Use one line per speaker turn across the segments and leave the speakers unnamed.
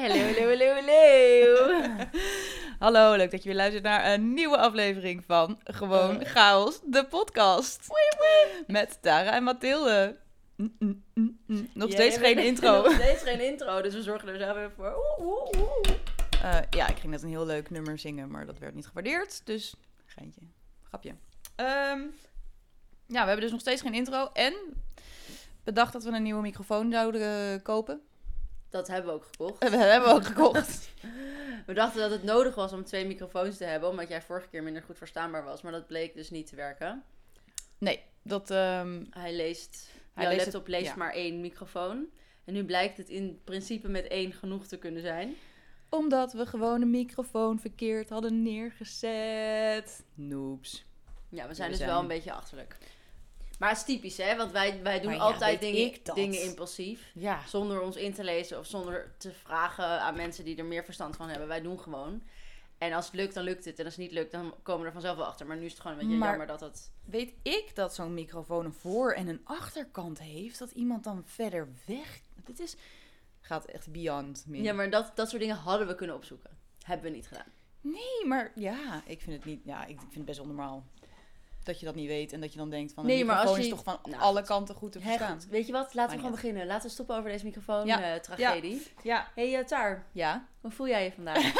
Hallo, hallo, hallo, hallo.
Hallo, leuk dat je weer luistert naar een nieuwe aflevering van Gewoon Chaos, de podcast. Met Tara en Mathilde. Mm, mm, mm, mm. Nog
Ja,
steeds
jij
geen
bent-
intro.
Nog steeds geen intro, dus we zorgen er zelf even voor. Oeh, oeh, oeh.
Eh, ja, ik ging net een heel leuk nummer zingen, maar dat werd niet gewaardeerd. Dus, geintje. Grapje. Ehm, ja, we hebben dus nog steeds geen intro. En bedacht dat we een nieuwe microfoon zouden eh, kopen.
Dat hebben we ook gekocht.
We hebben ook gekocht.
We dachten dat het nodig was om twee microfoons te hebben, omdat jij vorige keer minder goed verstaanbaar was. Maar dat bleek dus niet te werken.
Nee, dat... ehm,
Hij leest,
Hij
jouw
leest
laptop
het-
leest
ja.
maar één microfoon. En nu blijkt het in principe met één genoeg te kunnen zijn.
omdat we gewoon een microfoon verkeerd hadden neergezet. Noobs.
Ja, we zijn
We
dus
zijn-
wel een beetje achterlijk. Maar het is typisch, hè? Want wij, wij doen
Maar ja,
altijd
weet
dingen,
ik dat?
dingen impulsief.
Ja.
Zonder ons in te lezen of zonder te vragen aan mensen die er meer verstand van hebben. Wij doen gewoon. En als het lukt, dan lukt het. En als het niet lukt, dan komen we er vanzelf wel achter. Maar nu is het gewoon een beetje
Maar-
jammer dat het...
Weet ik dat zo'n microfoon een voor- en een achterkant heeft? Dat iemand dan verder weg... Dit is... Gaat echt beyond me.
Ja, maar dat, dat soort dingen hadden we kunnen opzoeken. Hebben we niet gedaan.
Nee, maar ja, ik vind het niet. Ja, ik vind het best onnormaal dat je dat niet weet en dat je dan denkt van.
Nee,
Nee,
maar
maar
als
is
je-
toch van
Nou,
alle kanten goed te
Hè,
verstaan.
goed. weet je wat? Laten we
Maar
gewoon
niet.
beginnen. Laten we stoppen over deze microfoon
Ja.
eh, tragedie.
Ja.
Hé hey, Tar,
Ja.
hoe voel jij je vandaag?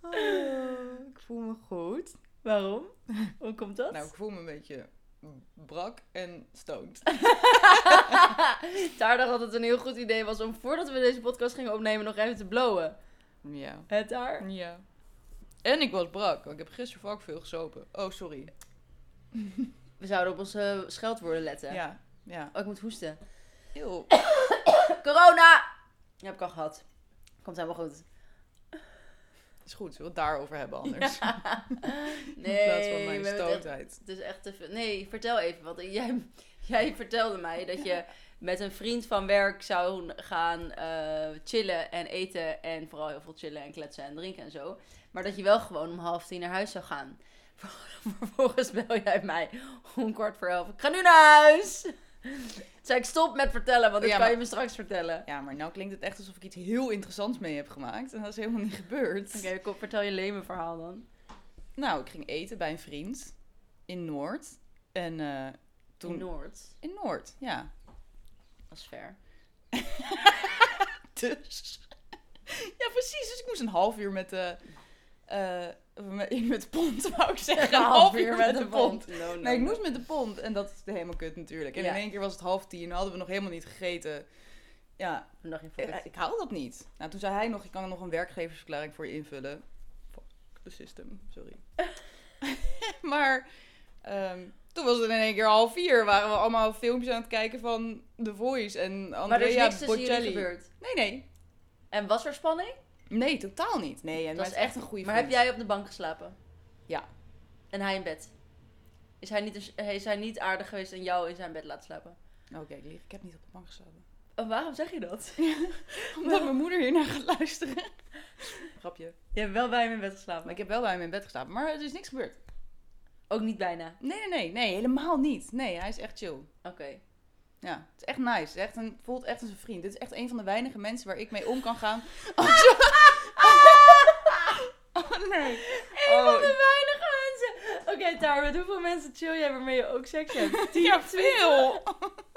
Oh, ik voel me goed.
Waarom? Hoe komt dat?
Nou, ik voel me een beetje brak en stoned.
Daar dacht dat het een heel goed idee was om voordat we deze podcast gingen opnemen nog even te blowen.
Ja.
Het daar?
Ja. En ik was brak, want ik heb gisteren vaak veel gesopen. Oh, sorry.
We zouden op onze scheldwoorden letten.
Ja. Ja.
Oh, ik moet hoesten.
Heel.
Corona! Ja, heb ik al gehad. Komt helemaal goed.
Is goed, zullen we het daarover hebben anders?
Nee,
In plaats van mijn
we hebben het echt-
stootheid.
het is echt te veel. Nee, vertel even. Want jij, jij vertelde mij dat je met een vriend van werk zou gaan eh, chillen en eten. En vooral heel veel chillen en kletsen en drinken en zo. Maar dat je wel gewoon om half tien naar huis zou gaan. Vervolgens bel jij mij om kwart voor elf. Ik ga nu naar huis! Toen zei ik stop met vertellen, want
Ja,
dat kan
maar-
je me straks vertellen.
Ja, maar nou klinkt het echt alsof ik iets heel interessants mee heb gemaakt. En dat is helemaal niet gebeurd.
Oké, kom, vertel je lemen verhaal dan.
Nou, ik ging eten bij een vriend in Noord. En eh, toen...
Toen Noord.
in Noord, ja.
Dat is fair.
Dus... ja, precies. Dus ik moest een half uur met de... eh, met, met de pond, wou ik zeggen. Een half uur met de pond.
No, no,
Nee, ik
no.
moest met de pond. En dat is helemaal kut natuurlijk. En
Ja.
in één keer was het half tien. Hadden we nog helemaal niet gegeten. Ja,
Toen dacht je, fuck
ik,
it.
ik hou dat niet. Nou, toen zei hij nog... Ik kan nog een werkgeversverklaring voor je invullen. Fuck the system. Sorry. Maar ehm, toen was het in één keer half vier. Waren we allemaal filmpjes aan het kijken van The Voice en Andrea
Maar er is niks tussen jullie
Bocelli.
gebeurd.
Nee, nee.
En was er spanning?
Nee, totaal niet. Nee, en
Dat
dat
is
is echt een goede
Maar heb
vriend.
jij op de bank geslapen?
Ja.
En hij in bed? Is hij niet, is hij niet aardig geweest en jou in zijn bed laten slapen?
Oké, ik lieg. Oh, ik heb niet op de bank geslapen.
Oh, waarom zeg je dat?
Omdat mijn moeder hiernaar gaat luisteren. Grapje.
Je hebt wel bij hem in bed
Maar
geslapen.
ik heb wel bij hem in bed geslapen. Maar er is niks gebeurd.
Ook niet bijna.
Nee, nee, nee. Nee, helemaal niet. Nee, hij is echt chill.
Oké.
Ja, het is echt nice. Het is Echt een, voelt echt als een vriend. Dit is echt een van de weinige mensen waar ik mee om kan gaan. Oh nee.
Een van
Oh.
de weinige mensen. Oké, Tara, met hoeveel mensen chill jij waarmee je ook seks hebt? Tien,
ja,
twintig?
veel.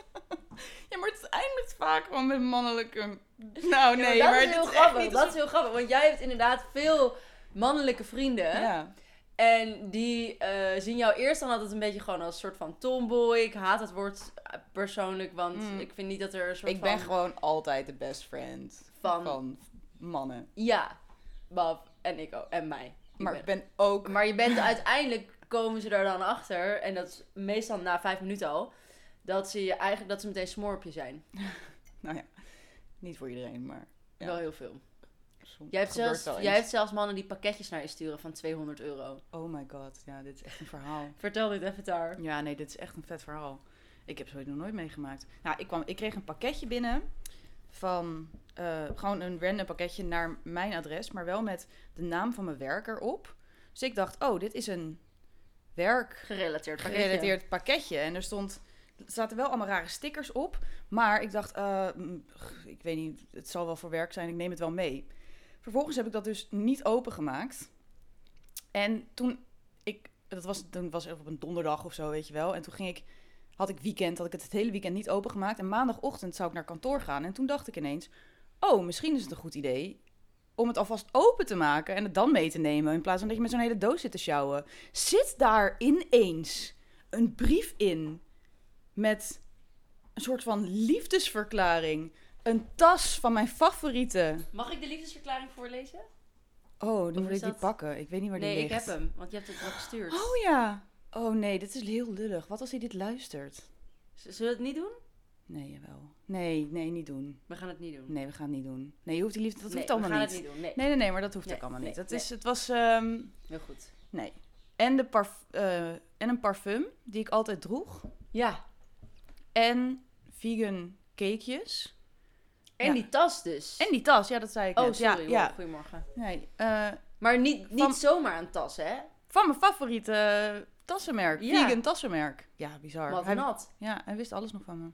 ja, maar het eindigt vaak gewoon met mannelijke... Nou,
Ja,
nee,
dat
maar
is
dit
heel
echt
grappig.
niet
Dat is heel grappig, want jij hebt inderdaad veel mannelijke vrienden.
alsof- Ja.
En die eh, zien jou eerst dan altijd een beetje gewoon als een soort van tomboy. Ik haat het woord eh, persoonlijk, want
Mm.
ik vind niet dat er een soort
Ik
van...
ben gewoon altijd de best friend
Van-
van, mannen.
Ja, Bab en ik ook. En mij. Ik
Maar
ben-
ik ben ook...
maar je bent uiteindelijk komen ze daar dan achter. En dat is meestal na vijf minuten al. Dat ze, je eigenlijk, dat ze meteen smoor op je zijn.
Nou ja, niet voor iedereen, maar... Ja.
Wel heel veel.
soms
Jij hebt,
gebeurt
zelfs,
wel eens.
jij hebt zelfs mannen die pakketjes naar je sturen van 200 euro.
Oh my god, ja, dit is echt een verhaal.
Vertel dit even daar.
Ja, nee, dit is echt een vet verhaal. Ik heb zoiets nog nooit meegemaakt. Nou, ik, kwam, ik kreeg een pakketje binnen van eh, gewoon een random pakketje naar mijn adres, maar wel met de naam van mijn werker op. Dus ik dacht, oh, dit is een werk
Gerelateerd pakketje.
gerelateerd pakketje. En er stond zaten wel allemaal rare stickers op. Maar ik dacht, eh, mm, g- ik weet niet, het zal wel voor werk zijn, ik neem het wel mee. Vervolgens heb ik dat dus niet opengemaakt. En toen, ik, dat was, toen was het op een donderdag of zo, weet je wel. En toen ging ik, had ik weekend, had ik het het hele weekend niet opengemaakt. En maandagochtend zou ik naar kantoor gaan. En toen dacht ik ineens, oh, misschien is het een goed idee om het alvast open te maken en het dan mee te nemen. In plaats van dat je met zo'n hele doos zit te sjouwen. Zit daar ineens een brief in met een soort van liefdesverklaring. Een tas van mijn favoriete.
Mag ik de liefdesverklaring voorlezen?
Oh,
Of
dan moet
is
ik die
dat-
pakken. Ik weet niet waar
nee,
die
ik
ligt.
heb hem, want je hebt het wel gestuurd.
Oh ja. Oh nee, dit is heel lullig. Wat als hij dit luistert?
Z- Zullen we het niet doen?
Nee, jawel. Nee, nee, niet doen.
We gaan het niet doen.
Nee, we gaan het niet doen. Nee, je hoeft die liefde... Dat
Nee,
hoeft allemaal
we gaan
niet.
het niet doen. Nee,
Nee, nee, nee, maar dat hoeft
Nee,
ook allemaal
nee,
niet. Dat
nee.
is, het was... ehm,
heel goed.
nee. En, de parf eh, en een parfum die ik altijd droeg.
Ja,
En vegan cakejes.
en
Ja.
die tas dus.
En die tas, ja, dat zei ik
Oh,
net.
sorry. hoor.
Ja, ja.
Goedemorgen.
Nee, eh,
Maar niet, niet
Van-
zomaar een tas, hè?
van mijn favoriete eh, tassenmerk.
Ja.
Vegan tassenmerk. Ja, bizar.
Wat
Hij-
nat.
Ja, hij wist alles nog van me.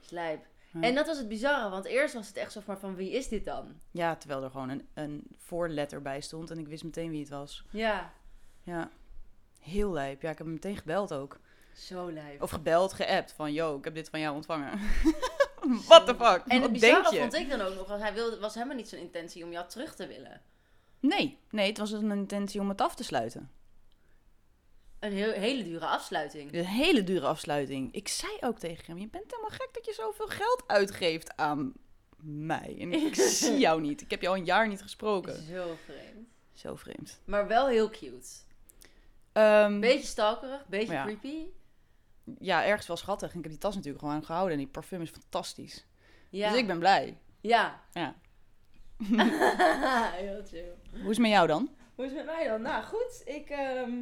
Slijp.
Ja.
En dat was het bizarre, want eerst was het echt zo van, van wie is dit dan?
Ja, terwijl er gewoon een, een voorletter bij stond en ik wist meteen wie het was.
Ja,
Ja, heel lijp. Ja, ik heb hem meteen gebeld ook.
zo lijp.
Of gebeld, geappt van, yo, ik heb dit van jou ontvangen. What the fuck?
En het
Wat denk
bizarre
je?
vond ik dan ook nog, want hij wilde, was helemaal niet zijn intentie om jou terug te willen.
Nee, nee, het was een intentie om het af te sluiten.
Een heel, hele dure afsluiting.
Een hele dure afsluiting. Ik zei ook tegen hem, je bent helemaal gek dat je zoveel geld uitgeeft aan mij. En ik zie jou niet. Ik heb jou al een jaar niet gesproken.
Zo vreemd.
Zo vreemd.
Maar wel heel cute.
Ehm,
Beetje stalkerig, beetje
Ja.
creepy.
ja, ergens wel schattig. En ik heb die tas natuurlijk gewoon gehouden en die parfum is fantastisch.
Ja.
Dus ik ben blij.
Ja.
Ja.
heel chill.
Hoe is het met jou dan?
Hoe is het met mij dan? Nou, goed. Ik, ehm,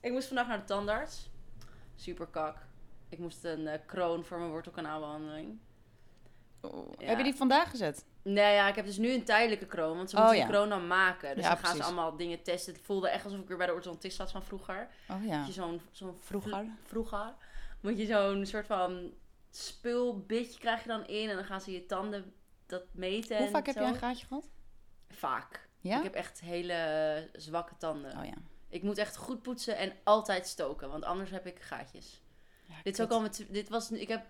ik moest vandaag naar de tandarts. Super kak. Ik moest een eh, kroon voor mijn wortelkanaalbehandeling. Ja.
Heb je die vandaag gezet?
Nee, ja, ik heb dus nu een tijdelijke kroon. Want ze
Oh,
moeten die
ja.
kroon dan maken. Dus
Ja,
dan gaan
precies.
ze allemaal dingen testen. Het voelde echt alsof ik weer bij de orthodontist zat van vroeger.
Oh ja.
Dat je zo'n... zo'n
Vroeger.
Vroeger. Moet je zo'n soort van spulbitje krijg je dan in. En dan gaan ze je tanden dat meten.
Hoe
en
vaak heb
zo.
je een gaatje gehad?
Vaak.
Ja?
Ik heb echt hele eh, zwakke tanden.
Oh ja.
Ik moet echt goed poetsen en altijd stoken, want anders heb ik gaatjes. Dit is ook al mijn tw- dit was ik heb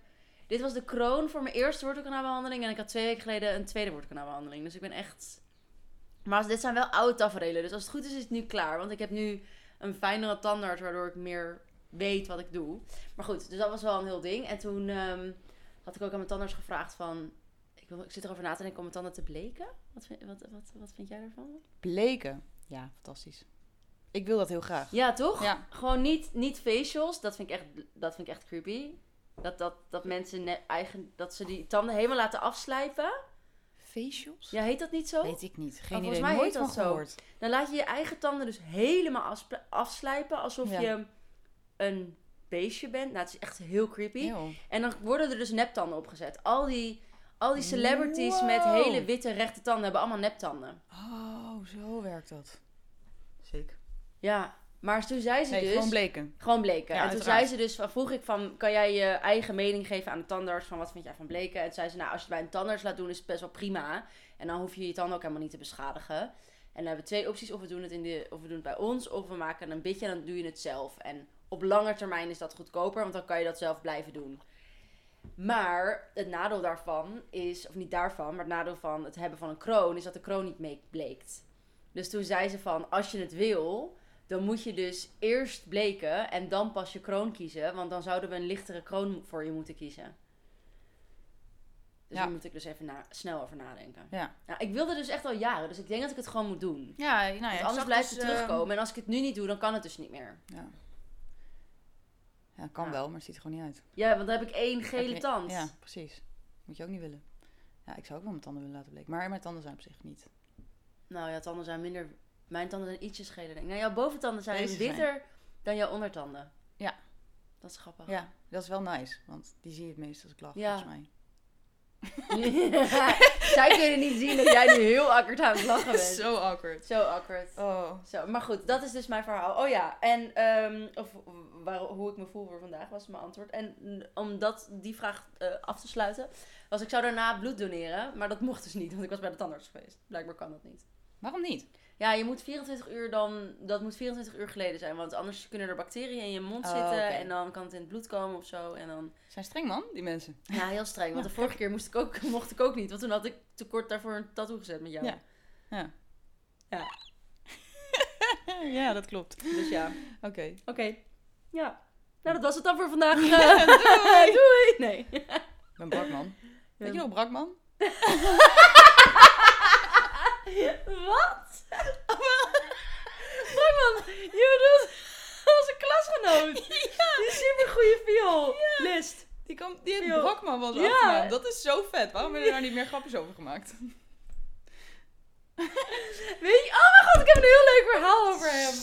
dit was de kroon voor mijn eerste wortelkanaalbehandeling en ik had twee weken geleden een tweede wortelkanaalbehandeling. Dus ik ben echt maar als- dit zijn wel oude tafereelen, dus als het goed is is het nu klaar, want ik heb nu een fijnere tandarts waardoor ik meer weet wat ik doe. Maar goed, dus dat was wel een heel ding. En toen ehm, had ik ook aan mijn tandarts gevraagd van ik, wil, ik zit erover na te denken om mijn tanden te bleken. Wat vind, wat, wat, wat vind jij ervan?
Bleken. Ja, fantastisch. Ik wil dat heel graag.
Ja, toch?
Ja.
Gewoon niet, niet facials, dat vind ik echt, dat vind ik echt creepy. Dat, dat, dat mensen ne- eigen, dat ze die tanden helemaal laten afslijpen.
Facials?
Ja, heet dat niet zo?
Weet ik niet. Geen
volgens
idee.
mij heet
Nooit
dat
van
zo.
gehoord.
Dan laat je je eigen tanden dus helemaal afspla- afslijpen. Alsof
Ja.
je een beestje bent. Nou, het is echt heel creepy.
Eeuw.
En dan worden er dus neptanden opgezet. Al die, al die celebrities met
Wow.
hele witte rechte tanden hebben allemaal neptanden.
Oh, zo werkt dat. Zeker.
Ja, maar toen zei ze
Nee,
dus...
gewoon bleken.
Gewoon bleken.
Ja,
en toen zei
uiteraard.
ze dus, van- vroeg ik van, kan jij je eigen mening geven aan de tandarts van wat vind jij van bleken? En toen zei ze, nou als je het bij een tandarts laat doen is het best wel prima. En dan hoef je je tanden ook helemaal niet te beschadigen. En dan hebben we twee opties, of we doen het, in de, of we doen het bij ons, of we maken een bitje en dan doe je het zelf. En op lange termijn is dat goedkoper, want dan kan je dat zelf blijven doen. Maar het nadeel daarvan is, of niet daarvan, maar het nadeel van het hebben van een kroon is dat de kroon niet mee bleekt. Dus toen zei ze van, als je het wil, dan moet je dus eerst bleken en dan pas je kroon kiezen. Want dan zouden we een lichtere kroon voor je moeten kiezen. Dus
Ja.
daar moet ik dus even na- snel over nadenken.
Ja.
Nou, ik wilde dus echt al jaren, dus ik denk dat ik het gewoon moet doen. Want
Ja, nou ja. ik
anders
zag
blijft
dus,
het
eh,
terugkomen. En als ik het nu niet doe, dan kan het dus niet meer.
Ja. ja, kan
Ja.
wel, maar het ziet er gewoon niet uit.
Ja, want dan heb ik één gele
Heb je-
tand.
Ja, precies. Moet je ook niet willen. Ja, ik zou ook wel mijn tanden willen laten bleken. Maar mijn tanden zijn op zich niet.
Nou, jouw tanden zijn minder... Mijn tanden zijn ietsjes geler, denk ik. Nou, jouw boventanden zijn
Deze zijn-
witter dan jouw ondertanden.
Ja.
Dat is grappig.
Ja, dat is wel nice. Want die zie je het meest als ik lach,
Oh. Ja.
volgens mij.
Zij kunnen niet zien dat jij nu heel akkerd aan het lachen bent. Zo,
Zo awkward.
akkerd.
Oh.
Zo, maar goed, dat is dus mijn verhaal. Oh ja, en ehm, of, waar, hoe ik me voel voor vandaag was mijn antwoord. En mm, om dat, die vraag eh, af te sluiten, was ik zou daarna bloed doneren. Maar dat mocht dus niet, want ik was bij de tandarts geweest. Blijkbaar kan dat niet.
Waarom niet?
Ja, je moet 24 uur dan, dat moet 24 uur geleden zijn. Want anders kunnen er bacteriën in je mond
Oh,
zitten.
oké.
En dan kan het in het bloed komen of zo. En dan
Zijn streng man, die mensen.
Ja, heel streng. Want de vorige keer moest ik ook, mocht ik ook niet. Want toen had ik tekort daarvoor een tattoo gezet met jou.
Ja. Ja.
Ja.
ja, dat klopt.
Dus ja.
Oké.
Oké. Ja. Nou, dat was het dan voor vandaag.
Doei!
Doei! Nee.
Ik ben Brakman. Weet je nog Brakman?
Wat? Brakman, je doet als een klasgenoot. Die supergoeie viool. List.
Die, kwam, die heeft
Yo.
Brakman was
Ja.
afgemaakt. Dat is zo vet. Waarom hebben we daar niet meer grapjes over gemaakt?
Weet je? Oh mijn god, ik heb een heel leuk verhaal over hem.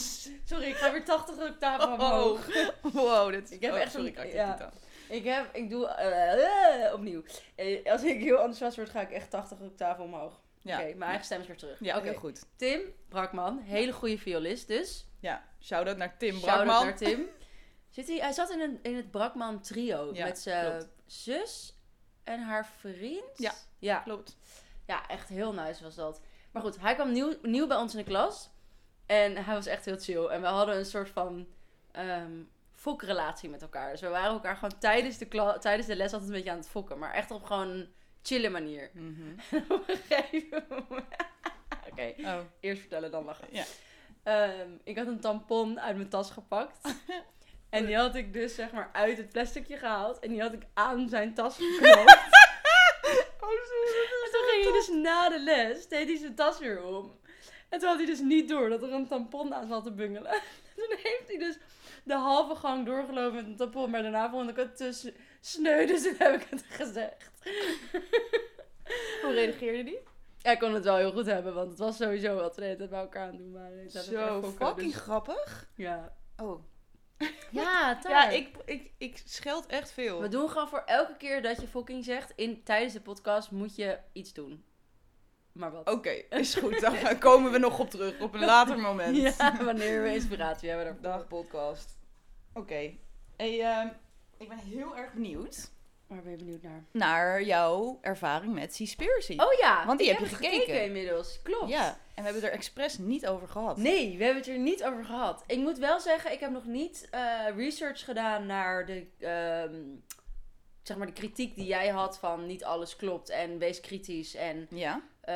Sorry, ik ga weer 80 octaven
Oh,
omhoog.
Wow, dit is...
Ik heb
oh,
echt
sorry,
een-
ik raak dit
ja.
niet aan.
Ik heb, ik doe eh, eh, opnieuw. Eh, als ik heel enthousiast word, ga ik echt 80 octaven omhoog.
Ja.
Oké, mijn eigen stem is weer terug.
Ja,
Oké.
heel goed.
Tim Brakman, hele goede violist dus.
Ja, shout-out naar Tim
Shout-out
Brakman.
naar Tim. Zit hij, hij zat in, een, in het Brakman trio
Ja,
met zijn
klopt.
zus en haar vriend.
Ja.
ja.
Klopt.
Ja, echt heel nice was dat. Maar goed, hij kwam nieuw, nieuw bij ons in de klas. En hij was echt heel chill. En we hadden een soort van ehm fokrelatie met elkaar. Dus we waren elkaar gewoon tijdens de, kla- tijdens de les altijd een beetje aan het fokken. Maar echt op gewoon een chille manier.
Mhm.
op een gegeven moment... Oké,
Oh,
eerst vertellen, dan lachen.
ja.
Ehm, ik had een tampon uit mijn tas gepakt. En die had ik dus zeg maar uit het plasticje gehaald. En die had ik aan zijn tas geknoopt.
Oh, sorry.
En toen ging hij dus na de les, deed hij zijn tas weer om. En toen had hij dus niet door dat er een tampon aan zat te bungelen. Toen heeft hij dus de halve gang doorgelopen met een tampon. Maar daarna vond ik het te sneu, dus toen heb ik het gezegd.
Hoe reageerde die?
Hij kon het wel heel goed hebben, want het was sowieso wat we de hele tijd bij elkaar aan het doen. Maar ik zat elkaar
Zo
fokken,
fucking
dus-
grappig.
ja.
Oh.
Ja,
Ja, ik, ik, ik scheld echt veel.
We doen gewoon voor elke keer dat je fucking zegt, in, tijdens de podcast moet je iets doen. Maar wat?
Oké, is goed. Dan komen we nog op terug op een later moment.
Ja, wanneer we inspiratie hebben daarvoor.
Dag podcast. Oké. Hey, ehm, ik ben heel erg benieuwd
Waar ben je benieuwd naar?
naar jouw ervaring met Seaspiracy.
Oh ja,
Want die
ik
heb je
het
gekeken.
inmiddels. Oh, Klopt.
Ja, en we hebben het er expres niet over gehad.
Nee, we hebben het er niet over gehad. Ik moet wel zeggen, ik heb nog niet eh, research gedaan naar de, ehm, zeg maar de kritiek die jij had van niet alles klopt en wees kritisch en
Ja.
eh,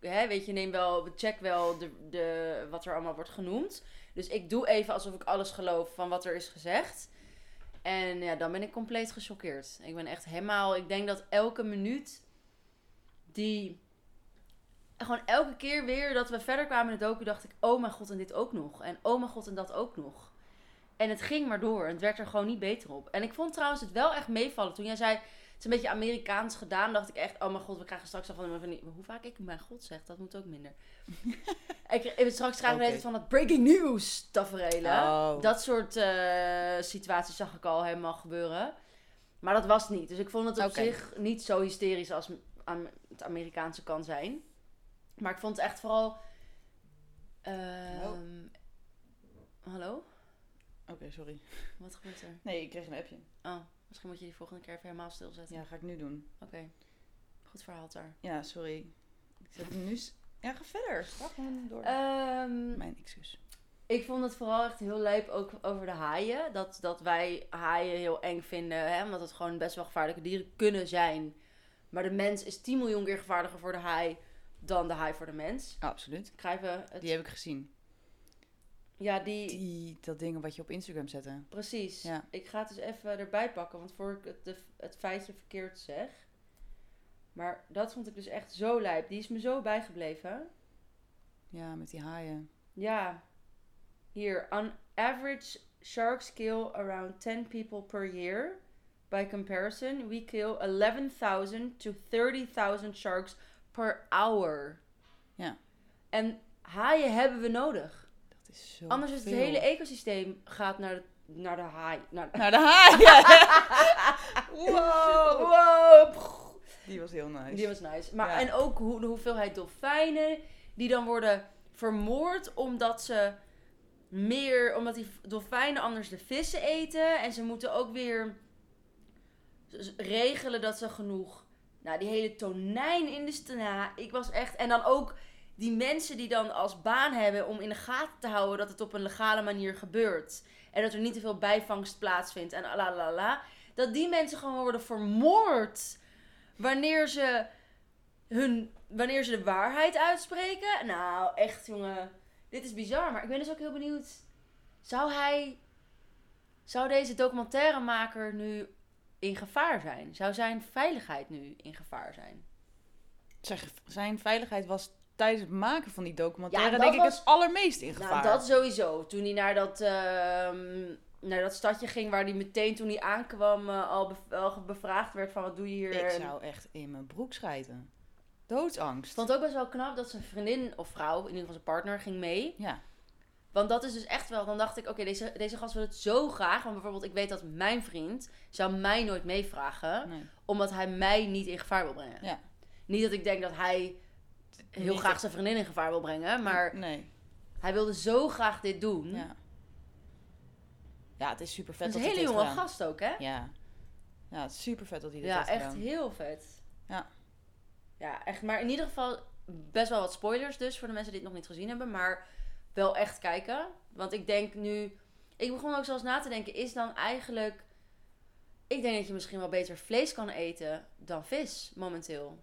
hè, weet je, neem wel, check wel de, de, wat er allemaal wordt genoemd. Dus ik doe even alsof ik alles geloof van wat er is gezegd. En ja, dan ben ik compleet gechoqueerd. Ik ben echt helemaal. Ik denk dat elke minuut die. Gewoon elke keer weer dat we verder kwamen in de docu, dacht ik: oh mijn god, en dit ook nog. En oh mijn god, en dat ook nog. En het ging maar door. En het werd er gewoon niet beter op. En ik vond trouwens het wel echt meevallen. Toen jij zei: het is een beetje Amerikaans gedaan, dacht ik echt: oh mijn god, we krijgen straks al van. van die- Hoe vaak ik mijn god zeg, dat moet ook minder. ik, ik- straks krijgen we
Oké.
net van dat breaking news tafereelen.
Oh.
Dat soort eh, situaties zag ik al helemaal gebeuren. Maar dat was niet. Dus ik vond het op
Oké.
zich niet zo hysterisch als m- aan het Amerikaanse kan zijn. Maar ik vond het echt vooral. ehm,
Hallo?
Hallo?
Oké, sorry.
Wat gebeurt er?
Nee, ik kreeg een appje.
Oh, misschien moet je die volgende keer even helemaal stilzetten.
Ja, ga ik nu doen.
Oké. Goed verhaal daar.
Ja, sorry. Ik zet hem nu... s- Ja, ga verder. Ga gewoon door.
Ehm,
Mijn excuus.
Ik vond het vooral echt heel lijp ook over de haaien. Dat, dat wij haaien heel eng vinden, hè? omdat het gewoon best wel gevaarlijke dieren kunnen zijn. Maar de mens is 10 miljoen keer gevaarlijker voor de haai dan de haai voor de mens.
Absoluut.
Krijgen we het?
Die heb ik gezien.
Ja, die...
Die, dat ding wat je op Instagram zette.
Precies.
Ja.
Ik ga het dus even erbij pakken, want voor ik het, de- het feitje verkeerd zeg. Maar dat vond ik dus echt zo lijp. Die is me zo bijgebleven.
Ja, met die haaien.
Ja. Hier, on average, sharks kill around 10 people per year. By comparison, we kill 11.000 to 30.000 sharks per hour.
Ja.
En haaien hebben we nodig.
Dat is zo
Anders is het
veel.
hele ecosysteem gaat naar de, naar de haai. Naar de-
Naar de haaien. wow.
Wow.
Die was heel nice.
Die was nice. Maar
Ja.
en ook hoe, de hoeveelheid dolfijnen die dan worden vermoord omdat ze meer, omdat die dolfijnen anders de vissen eten en ze moeten ook weer z- regelen dat ze genoeg. Nou, die hele tonijn in de straat. Ik was echt en dan ook die mensen die dan als baan hebben om in de gaten te houden dat het op een legale manier gebeurt en dat er niet te veel bijvangst plaatsvindt en la la la la, dat die mensen gewoon worden vermoord wanneer ze hun, wanneer ze de waarheid uitspreken. Nou, echt jongen, dit is bizar. Maar ik ben dus ook heel benieuwd. Zou hij, zou deze documentairemaker nu in gevaar zijn? Zou zijn veiligheid nu in gevaar zijn?
Zijn, zijn veiligheid was tijdens het maken van die documentaire
Ja, dat
denk ik
was-
het allermeest in gevaar.
Nou, dat sowieso. Toen hij naar dat, ehm, naar dat stadje ging waar hij meteen toen hij aankwam eh, al, bev- al bevraagd werd van wat doe je hier?
Ik zou echt in mijn broek schijten. Doodsangst.
Ik vond het ook best wel knap dat zijn vriendin of vrouw, in ieder geval zijn partner, ging mee.
Ja.
Want dat is dus echt wel. Dan dacht ik, oké, deze, deze gast wil het zo graag. Want bijvoorbeeld, ik weet dat mijn vriend zou mij nooit meevragen.
Nee.
Omdat hij mij niet in gevaar wil brengen.
Ja.
Niet dat ik denk dat hij heel
Niet
graag
dat-
zijn vriendin in gevaar wil brengen. Maar
Nee.
hij wilde zo graag dit doen.
Ja. Ja, het is super vet
Dat is
dat
een
hij
hele
dit
jonge
gedaan.
gast ook, hè?
Ja. Ja, het is super vet dat hij dit
Ja,
heeft
echt
gedaan.
heel vet.
Ja.
Ja, echt. Maar in ieder geval best wel wat spoilers dus voor de mensen die het nog niet gezien hebben. Maar wel echt kijken. Want ik denk nu... Ik begon ook zelfs na te denken, is dan eigenlijk... Ik denk dat je misschien wel beter vlees kan eten dan vis momenteel.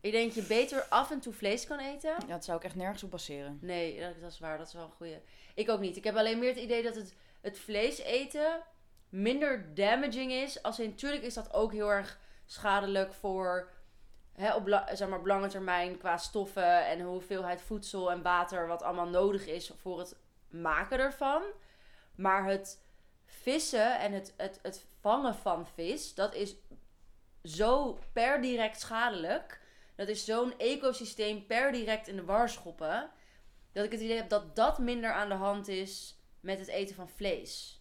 Ik denk dat je beter af en toe vlees kan eten.
Ja, dat zou ik echt nergens op baseren.
Nee, dat, dat is waar. Dat is wel een goeie. Ik ook niet. Ik heb alleen meer het idee dat het, het vlees eten minder damaging is. Als in, tuurlijk is dat ook heel erg schadelijk voor... Hè, op la- zeg maar, op lange termijn qua stoffen en hoeveelheid voedsel en water... wat allemaal nodig is voor het maken ervan. Maar het vissen en het, het, het vangen van vis... dat is zo per direct schadelijk. Dat is zo'n ecosysteem per direct in de war schoppen dat ik het idee heb dat dat minder aan de hand is met het eten van vlees.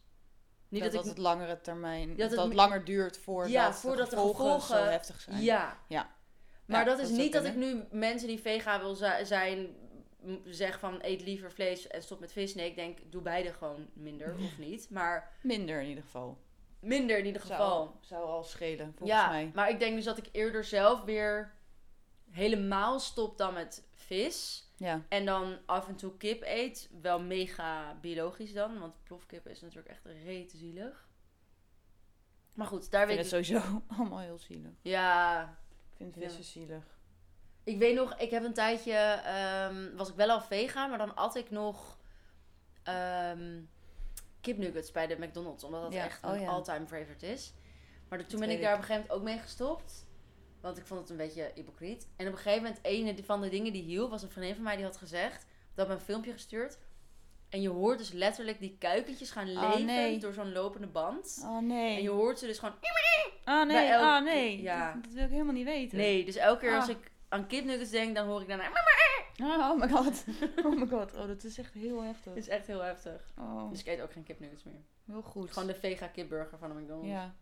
Niet dat, ik
het langere termijn,
dat
dat
het
het,
me-
langer duurt voordat,
Ja, voordat de
de gevolgen,
gevolgen-
zo heftig zijn.
Ja.
Ja.
Maar
Ja,
dat is
dat zou
niet dat ik nu mensen die vega wil zi- zijn m- zeg van eet liever vlees en stop met vis. Nee, ik denk doe beide gewoon minder of niet. Maar
Minder in ieder geval.
minder in ieder geval.
Zou, zou al schelen, volgens
ja,
mij.
maar ik denk dus dat ik eerder zelf weer helemaal stop dan met vis.
Ja.
En dan af en toe kip eet. Wel mega biologisch dan. Want plofkip is natuurlijk echt rete zielig. Maar goed, daar
Ik
weet
vind
ik...
het sowieso allemaal heel zielig.
Ja,
Ik vind
vissen
vissen zielig.
ik weet nog... Ik heb een tijdje... ehm, was ik wel al vega, maar dan at ik nog... ehm kipnuggets bij de McDonald's. Omdat dat
Ja,
echt
oh
mijn
ja.
all-time favorite is. Maar toen ben
weet
ik daar
ik.
op een gegeven moment ook mee gestopt. Want ik vond het een beetje hypocriet. En op een gegeven moment, een van de dingen die hielp, was een vriendin van mij die had gezegd... Dat had me een filmpje gestuurd. En je hoort dus letterlijk die kuikentjes gaan
Oh,
leven
nee.
door zo'n lopende band.
Oh
En
nee.
je hoort ze dus gewoon...
Ah
bij
nee,
elk-
ah nee.
Ja.
Dat, dat wil ik helemaal niet weten.
Nee, dus elke keer als
Ah.
ik aan kipnuggets denk, dan hoor ik daarna...
Ah, oh my god. Oh my god. Oh, dat is echt heel
Dat
heftig.
is echt heel heftig.
Oh,
Dus ik eet ook geen kipnuggets meer.
heel goed.
Gewoon de vega kipburger van de McDonald's.
Ja.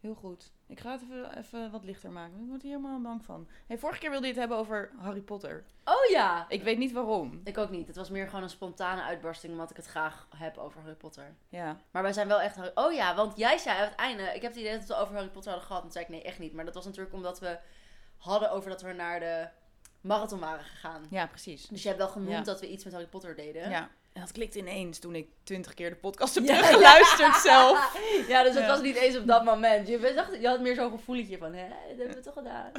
Heel goed. Ik ga het even, even wat lichter maken. Ik word hier helemaal bang van. Hey, vorige keer wilde je het hebben over Harry Potter.
Oh ja!
Ik weet niet waarom.
Ik ook niet. Het was meer gewoon een spontane uitbarsting, omdat ik het graag heb over Harry Potter.
Ja.
Maar wij zijn wel echt... Harry- Oh ja, want jij zei aan het einde... Ik heb het idee dat we het over Harry Potter hadden gehad. En toen zei ik, nee, echt niet. Maar dat was natuurlijk omdat we hadden over dat we naar de marathon waren gegaan.
Ja, precies.
Dus je hebt wel genoemd
Ja.
dat we iets met Harry Potter deden.
Ja. En dat klikt ineens toen ik twintig keer de podcast heb
Ja.
teruggeluisterd zelf.
Ja, dus dat
Ja.
was niet eens op dat moment. Je, dacht, je had meer zo'n gevoeletje van, hè, dat hebben we toch gedaan.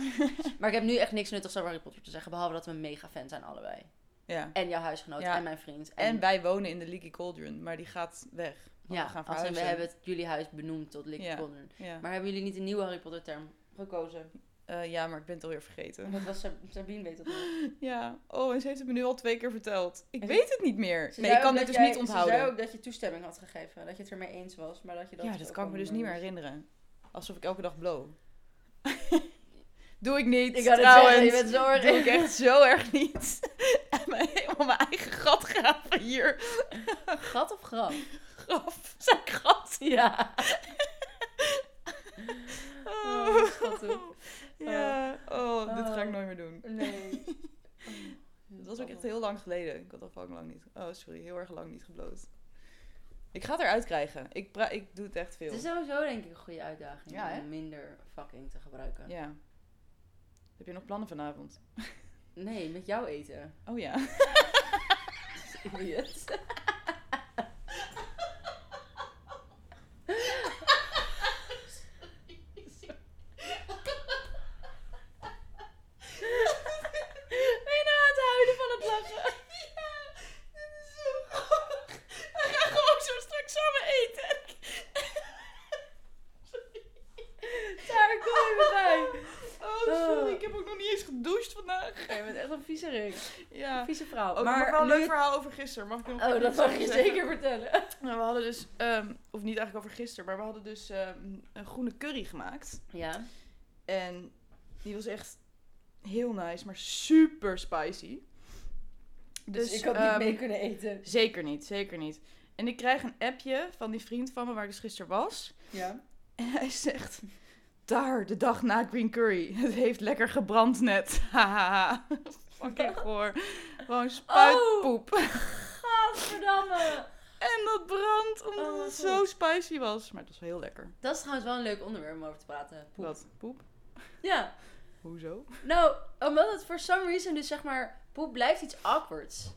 maar ik heb nu echt niks nuttigs over Harry Potter te zeggen, behalve dat we mega fan zijn allebei.
Ja.
En jouw huisgenoot
Ja.
en mijn vriend.
En wij wonen in de Leaky Cauldron, maar die gaat weg. Want
ja,
we gaan
als in, we
verhuizen.
hebben het, jullie huis benoemd tot Lick
Ja.
Cauldron.
Ja.
Maar hebben jullie niet een nieuwe Harry Potter term gekozen?
Eh, ja, maar ik ben het alweer vergeten.
Dat was Sab- Sabine weet dat nog.
Ja. Oh, en ze heeft het me nu al twee keer verteld. Ik
En ze-
weet het niet meer.
Ze
Nee,
zei
ik kan
ook
dit
dat
dus
jij-
niet
Ze zei
onthouden.
ook dat je toestemming had gegeven, dat je het ermee eens was, maar dat je dat...
Ja, dat
ook
kan ik me
wel
dus niet meer
moest.
herinneren. Alsof ik elke dag blow. Doe ik niet,
Ik had het
trouwens.
zeggen, je bent zo erg-
Doe ik echt zo erg niet. En mij helemaal mijn eigen gat graven hier.
Gat of grap?
Graf. Zijn gat.
Ja.
Oh.
Oh, schattig.
Ja. Oh, echt heel lang geleden. Ik had al fucking lang niet. Oh, sorry, heel erg lang niet gebloot. Ik ga het eruit krijgen. Ik, pra- ik doe het echt veel.
Het is sowieso denk ik een goede uitdaging
Ja, hè?
om minder fucking te gebruiken.
Ja. Heb je nog plannen vanavond?
Nee, met jou eten.
Oh ja.
Idiot.
Ben je nou aan het huilen van het lachen? Ja, dit is zo grappig. We gaan gewoon zo straks samen eten.
Daar kom even bij.
Oh, sorry.
Oh.
Ik heb ook nog niet eens gedoucht vandaag.
Oké, je bent echt een vieze rik.
Ja.
Een vieze vrouw.
Oh, maar,
maar
wel een
nu
leuk
het-
verhaal over gisteren. Mag ik nog
Oh,
even
dat
iets
mag
over
je
zeggen?
zeker vertellen.
Nou, we hadden dus, ehm, of niet eigenlijk over gisteren, maar we hadden dus ehm, een groene curry gemaakt.
Ja.
En die was echt heel nice, maar super spicy.
Dus, ik had
ehm,
niet mee kunnen eten.
Zeker niet, zeker niet. En ik krijg een appje van die vriend van me waar ik dus gisteren was.
Ja.
En hij zegt, daar, de dag na green curry. Het heeft lekker gebrand net. Hahaha. Fucking goor. Gewoon
Oh!
spuitpoep.
Gadverdamme.
En dat brandt omdat
Oh mijn
het zo
God.
spicy was. Maar het was heel lekker.
Dat is trouwens wel een leuk onderwerp om over te praten. Poep.
Wat? Poep?
Ja.
Hoezo?
Nou, omdat het for some reason dus zeg maar... Poep blijft iets awkwards.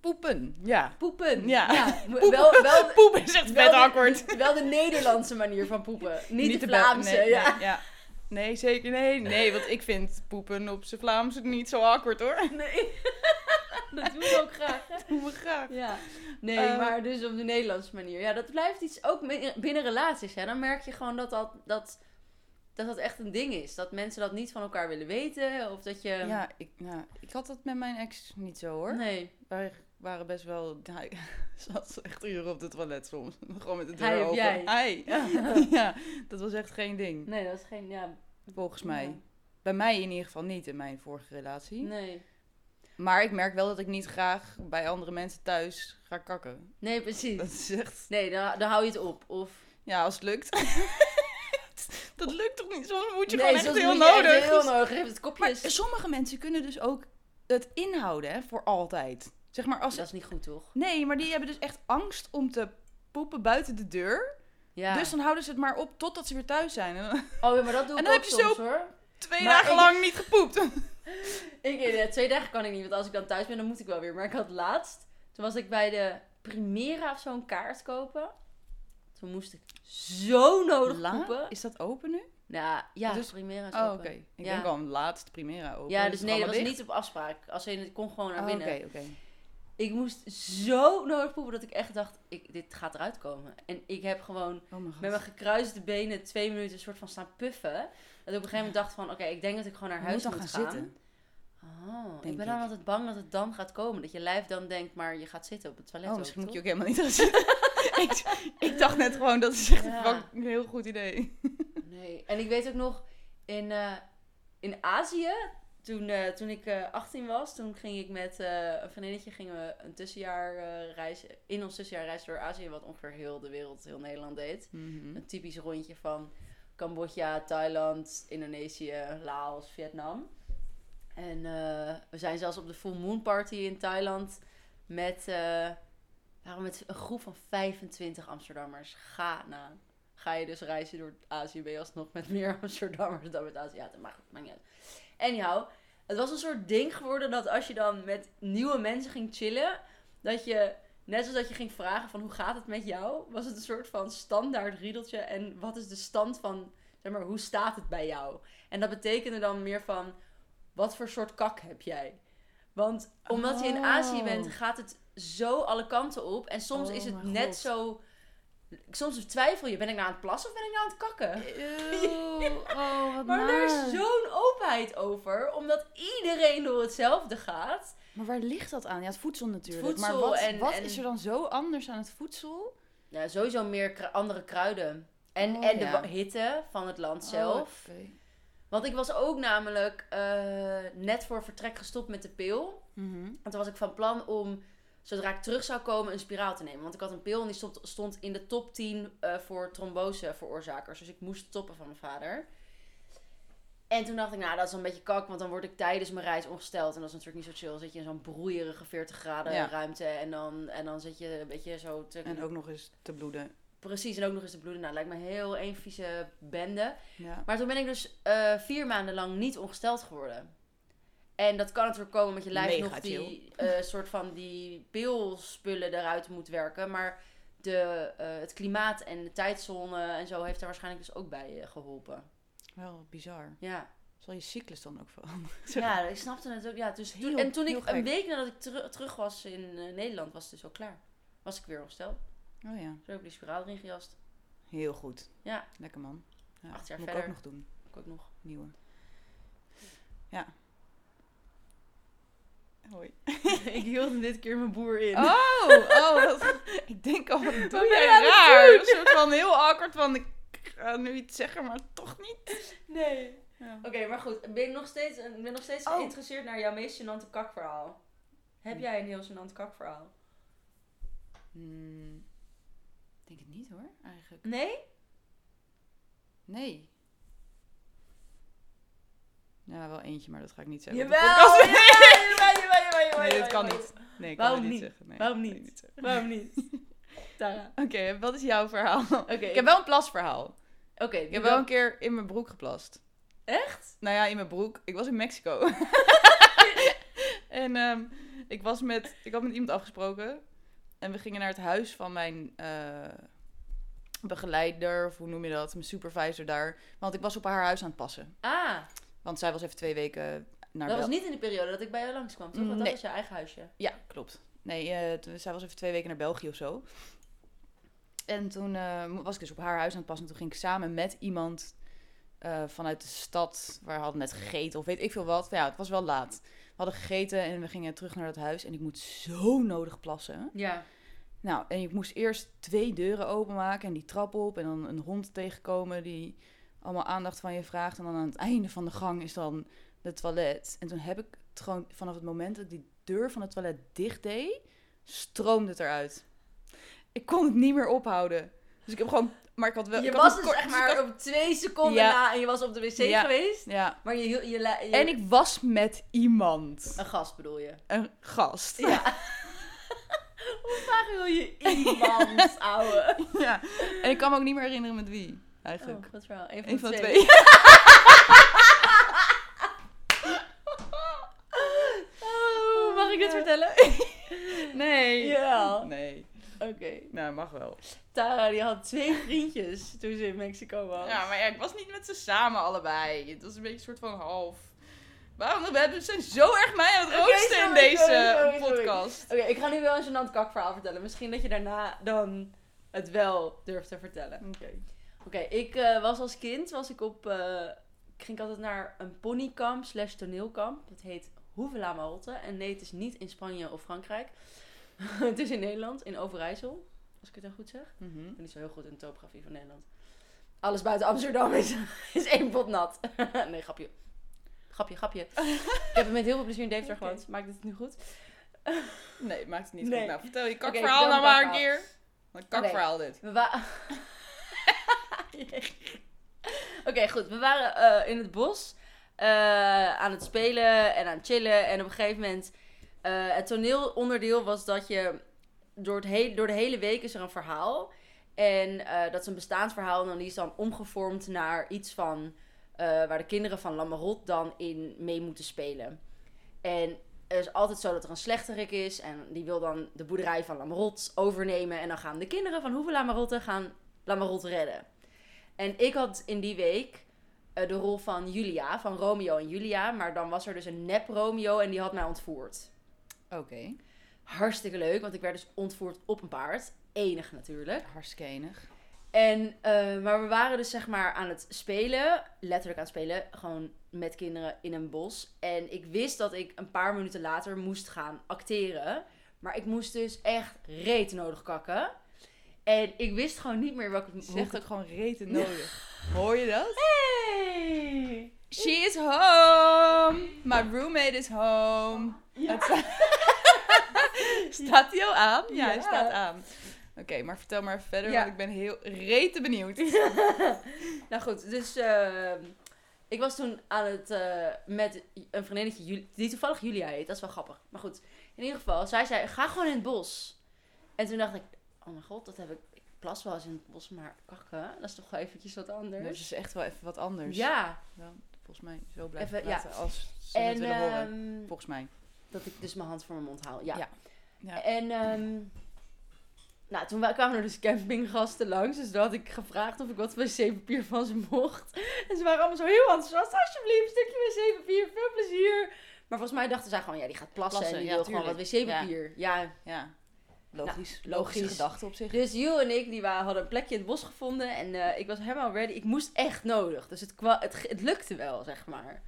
Poepen, ja.
Poepen.
Ja.
Wel, wel, wel,
Poep is echt vet
de-
awkward.
wel de Nederlandse manier van poepen. Niet, de
Bel-
Vlaamse.
nee,
ja.
Nee, ja. nee, zeker nee. Nee, want ik vind poepen op zijn Vlaams niet zo awkward hoor.
Nee. dat doen we ook graag. hè?
Hoe we graag.
Ja. Nee,
Eh,
maar dus op de Nederlandse manier. Ja, dat blijft iets ook mi- binnen relaties. Hè. Dan merk je gewoon dat dat, dat, dat dat echt een ding is. Dat mensen dat niet van elkaar willen weten. Of dat je...
Ja, ik, nou, ik had dat met mijn ex niet zo hoor.
Nee,
Wij waren best wel... Nou, zat ze echt uren op de toilet soms. Gewoon met de deur
Hij of
open.
jij?
Hij. Ja. dat was echt geen ding.
nee, dat is geen... Ja,
Volgens mij.
Ja.
Bij mij in ieder geval niet in mijn vorige relatie.
nee.
Maar ik merk wel dat ik niet graag bij andere mensen thuis ga kakken.
Nee, precies.
Dat is echt...
Nee, dan, dan hou je het op. Of...
Ja, als het lukt. dat lukt toch niet? Soms moet je
nee,
gewoon echt
soms
heel
moet je
nodig.
echt heel nodig. Geef het
Maar
kopjes.
sommige mensen kunnen dus ook het inhouden hè, voor altijd. Zeg maar als...
Dat is niet goed, toch?
Nee, maar die hebben dus echt angst om te poepen buiten de deur.
Ja.
Dus dan houden ze het maar op totdat ze weer thuis zijn. En dan-
Oh ja, maar dat doe
En
ik
dan
ook
heb je zo-
soms, hoor.
twee
Maar
dagen
ik-
lang niet gepoept.
Ik, eh, twee dagen kan ik niet, want als ik dan thuis ben, dan moet ik wel weer. Maar ik had laatst, toen was ik bij de Primera of zo een kaart kopen. Toen moest ik zo nodig poepen.
Is dat open nu?
Nou ja,
Dus-
Primera is
Oh, oké.
open.
Ik
Ja.
denk al laatst Primera open.
Ja, dus nee, dat was
allemaal
niet op afspraak. Als in, ik kon gewoon naar
dicht? Oh, Oké,
binnen.
oké.
Ik moest zo nodig poepen dat ik echt dacht, ik, dit gaat eruit komen. En ik heb gewoon
Oh mijn god.
met mijn gekruiste benen twee minuten een soort van staan puffen. Dat ik op een gegeven moment dacht van, oké, ik denk dat ik gewoon naar
Je
huis
moet
moet,
dan gaan
gaan.
zitten.
Oh, ik
Denk
ben dan
ik.
altijd bang dat het dan gaat komen. Dat je lijf dan denkt, maar je gaat zitten op het toilet.
Oh,
ook,
misschien moet je
toch?
ook helemaal niet gaan zitten. ik, ik dacht net gewoon, dat is echt
Ja.
wel een heel goed idee.
Nee. En ik weet ook nog, in, eh, in Azië, toen, eh, toen ik eh, 18 was, toen ging ik met eh, een vriendinnetje gingen we een tussenjaarreis, reis in ons tussenjaarreis door Azië, wat ongeveer heel de wereld, heel Nederland deed.
Mhm.
Een typisch rondje van Cambodja, Thailand, Indonesië, Laos, Vietnam. En eh, we zijn zelfs op de Full Moon Party in Thailand met, eh, waren met een groep van 25 Amsterdammers. Ga na. Ga je dus reizen door Azië, ben je alsnog met meer Amsterdammers dan met Aziaten. Maar goed, maakt niet uit. Anyhow, het was een soort ding geworden dat als je dan met nieuwe mensen ging chillen, dat je Net zoals dat je ging vragen van hoe gaat het met jou, was het een soort van standaard riedeltje. En wat is de stand van, zeg maar, hoe staat het bij jou? En dat betekende dan meer van, wat voor soort kak heb jij? Want omdat je in
Oh.
Azië bent, gaat het zo alle kanten op. En soms
Oh
is het
mijn
net
God.
zo... Soms twijfel je, ben ik nou aan het plassen of ben ik nou aan het kakken?
oh, wat
Maar daar is zo'n openheid over, omdat iedereen door hetzelfde gaat.
Maar waar ligt dat aan? Ja, het voedsel natuurlijk.
Het
maar
voedsel
wat,
en-
wat
en-
is er dan zo anders aan het voedsel?
Ja, sowieso meer kru- andere kruiden. En,
Oh,
en de
ja.
wa- hitte van het land zelf.
Oh, oké.
Want ik was ook namelijk eh, net voor vertrek gestopt met de pil.
Mhm.
En toen was ik van plan om, zodra ik terug zou komen, een spiraal te nemen. Want ik had een pil en die stond, stond in de top 10 eh, voor trombosevveroorzakers. Dus ik moest stoppen van mijn vader. En toen dacht ik, nou, dat is een beetje kak, want dan word ik tijdens mijn reis ongesteld. En dat is natuurlijk niet zo chill. Dan zit je in zo'n broeierige 40 graden
Ja.
ruimte en dan, en dan zit je een beetje zo te...
En ook nog eens te bloeden.
Precies, en ook nog eens te bloeden. Nou, lijkt me heel één vieze bende.
Ja.
Maar toen ben ik dus eh, vier maanden lang niet ongesteld geworden. En dat kan natuurlijk komen met je lijf
Mega
nog die eh, soort van die pilspullen eruit moet werken. Maar de, eh, het klimaat en de tijdzone en zo heeft daar waarschijnlijk dus ook bij eh, geholpen.
Wel bizar.
Ja.
Zal je cyclus dan ook veranderen?
Ja, ik snapte het ook. Ja, dus
Heel-
toen, en toen ik
heel
een
gek.
week nadat ik teru- terug was in eh, Nederland, was het dus al klaar. Was ik weer ongesteld.
Oh ja.
Toen heb ik die spiraal erin gejast.
Heel goed.
Ja.
Lekker man. Ja.
Acht jaar
Moet ik
verder.
ook nog doen.
Ik ook nog.
Nieuwe. Ja. Hoi.
ik hield dit keer mijn boer in.
Oh, oh wat- ik denk al, wat doe
ben
jij
je aan het
raar?
doen?
Een soort van heel awkward van, ik ga nu iets zeggen, maar toch niet.
Nee.
Ja.
Oké, maar goed. Ben ik nog steeds, ik ben nog steeds
Oh.
geïnteresseerd naar jouw meest gênante kakverhaal. Heb jij een heel gênant kakverhaal?
Hmm, ik denk het niet hoor, eigenlijk.
Nee?
Nee. Nou, wel eentje, maar dat ga ik niet zeggen.
Jawel!
op de
Jawel,
podcast.
jawel, jawel, jawel, jawel,
Nee, dat kan
jawel.
niet. Nee, ik kan
Waarom
het niet,
niet?
zeggen. Nee,
Waarom
dat kan
niet?
ik zeggen.
Waarom niet? Tara.
Oké, wat is jouw verhaal?
Oké,
Ik heb wel een plasverhaal.
Oké,
Ik
doe
heb wel
dan-
een keer in mijn broek geplast.
Echt?
Nou ja, in mijn broek. Ik was in Mexico. en ehm, ik, was met, ik had met iemand afgesproken. En we gingen naar het huis van mijn eh, begeleider, of hoe noem je dat? Mijn supervisor daar. Want ik was op haar huis aan het passen.
Ah.
Want zij was even twee weken naar
Dat was
Bel-
niet in de periode dat ik bij jou langskwam, toch? Want dat
Mm, Nee.
was je eigen huisje.
Ja, klopt. Nee, eh, toen- zij was even twee weken naar België of zo. En toen eh, mo- was ik dus op haar huis aan het passen. En toen ging ik samen met iemand eh, vanuit de stad, waar we hadden net gegeten of weet ik veel wat. Ja, het was wel laat. We hadden gegeten en we gingen terug naar dat huis. En ik moet zo nodig plassen.
Ja.
Nou, en ik moest eerst twee deuren openmaken en die trap op. En dan een hond tegenkomen die allemaal aandacht van je vraagt. En dan aan het einde van de gang is dan de toilet. En toen heb ik het gewoon vanaf het moment dat ik die deur van het toilet dicht deed, stroomde het eruit. Ik kon het niet meer ophouden. Dus ik heb gewoon... Maar ik had wel...
Je
ik
was
had een
dus
kort-
echt maar op twee seconden
Ja.
na en je was op de wc
Ja.
geweest.
Ja.
Maar je, hiel- je, la- je...
En ik was met iemand.
Een gast bedoel je.
Een gast.
Ja. Hoe vaak wil je iemand, ouwe?
Ja. En ik kan me ook niet meer herinneren met wie, eigenlijk.
Oh, wat verhaal. Een van,
Een
de
van de
twee.
twee.
Oh, mag ik dit
Ja.
vertellen?
Nee.
Ja.
Nee.
Oké.
Nou, mag wel.
Tara die had twee vriendjes toen ze in Mexico was.
Ja, maar ja, ik was niet met ze samen allebei. Het was een beetje een soort van half. Waarom hebben ze zo erg mij aan het
Oké,
roosteren in
sorry,
deze
sorry, sorry, sorry.
podcast?
Oké, ik ga nu wel een gênant kakverhaal vertellen. Misschien dat je daarna dan het wel durft te vertellen.
Oké.
Oké, ik eh, was als kind, was ik op, eh, ik ging altijd naar een ponykamp slash toneelkamp. Dat heet Hoevela Marotte. En nee, het is niet in Spanje of Frankrijk. het is in Nederland, in Overijssel. Als ik het dan goed zeg.
Mhm.
Ik ben niet zo heel goed in de topografie van Nederland. Alles buiten Amsterdam is, is één pot nat. nee, grapje. Grapje, grapje. ik heb met heel veel plezier in Deventer
Oké.
gewoond. Maakt het nu goed?
Nee, maakt het niet
Nee.
goed. Nou, vertel je
Oké,
kakverhaal nou
vertel een
maar een
kakverhaal.
keer. Een kakverhaal dit.
We waren. Oké, goed. We waren eh, in het bos eh, aan het spelen en aan het chillen. En op een gegeven moment. eh, het toneelonderdeel was dat je. Door, het hele, door de hele week is er een verhaal. En eh, dat is een bestaansverhaal. En dan die is dan omgevormd naar iets van. eh, waar de kinderen van Lamarot dan in mee moeten spelen. En er is altijd zo dat er een slechterik is. En die wil dan de boerderij van Lamarot overnemen. En dan gaan de kinderen van Hoeve Lamarotte gaan Lamarot redden. En ik had in die week eh, de rol van Julia, van Romeo en Julia. Maar dan was er dus een nep Romeo en die had mij ontvoerd.
Oké.
Hartstikke leuk, want ik werd dus ontvoerd op een paard. Enig natuurlijk.
Hartstikke enig.
En, eh, maar we waren dus zeg maar aan het spelen, letterlijk aan het spelen, gewoon met kinderen in een bos. En ik wist dat ik een paar minuten later moest gaan acteren. Maar ik moest dus echt reet nodig kakken. En ik wist gewoon niet meer welke... hoe ik
Zegt ook gewoon reten nodig. Hoor je dat?
Hey!
She is home. My roommate is home. Het sta- staat hij al aan? Ja, hij
Ja.
staat aan. Oké, maar vertel maar even verder,
Ja.
want ik ben heel rete benieuwd.
nou goed, dus eh, Ik was toen aan het eh, met een vriendinnetje Ju- die toevallig Julia heet. Dat is wel grappig. Maar goed, in ieder geval, zij zei: ga gewoon in het bos. En toen dacht ik: oh mijn god, dat heb ik. Ik plas wel eens in het bos, maar kakken, dat is toch wel eventjes wat
Dus
anders.
het is echt wel even wat anders.
Ja,
Wel, volgens mij zo blijven
Even, ja.
praten als ze het
en
willen horen.
ehm,
Volgens mij.
dat ik dus mijn hand voor mijn mond haal. Ja.
Ja. Ja.
En ehm, nou, toen wa- kwamen er dus campinggasten langs. Dus toen had ik gevraagd of ik wat wc-papier van ze mocht. En ze waren allemaal zo heel enthousiast. Alsjeblieft, een stukje wc-papier. Veel plezier. Maar volgens mij dachten zij gewoon, ja, die gaat plassen.
Plassen,
en die
ja,
wil gewoon wat
tuurlijk.
wc-papier. ja,
Ja. Logisch.
logisch.
Logische gedachte op zich.
Dus Jules en ik die waren, hadden een plekje in het bos gevonden. En eh, ik was helemaal ready. Ik moest echt nodig. Dus het, kwa- het, ge- het lukte wel, zeg maar.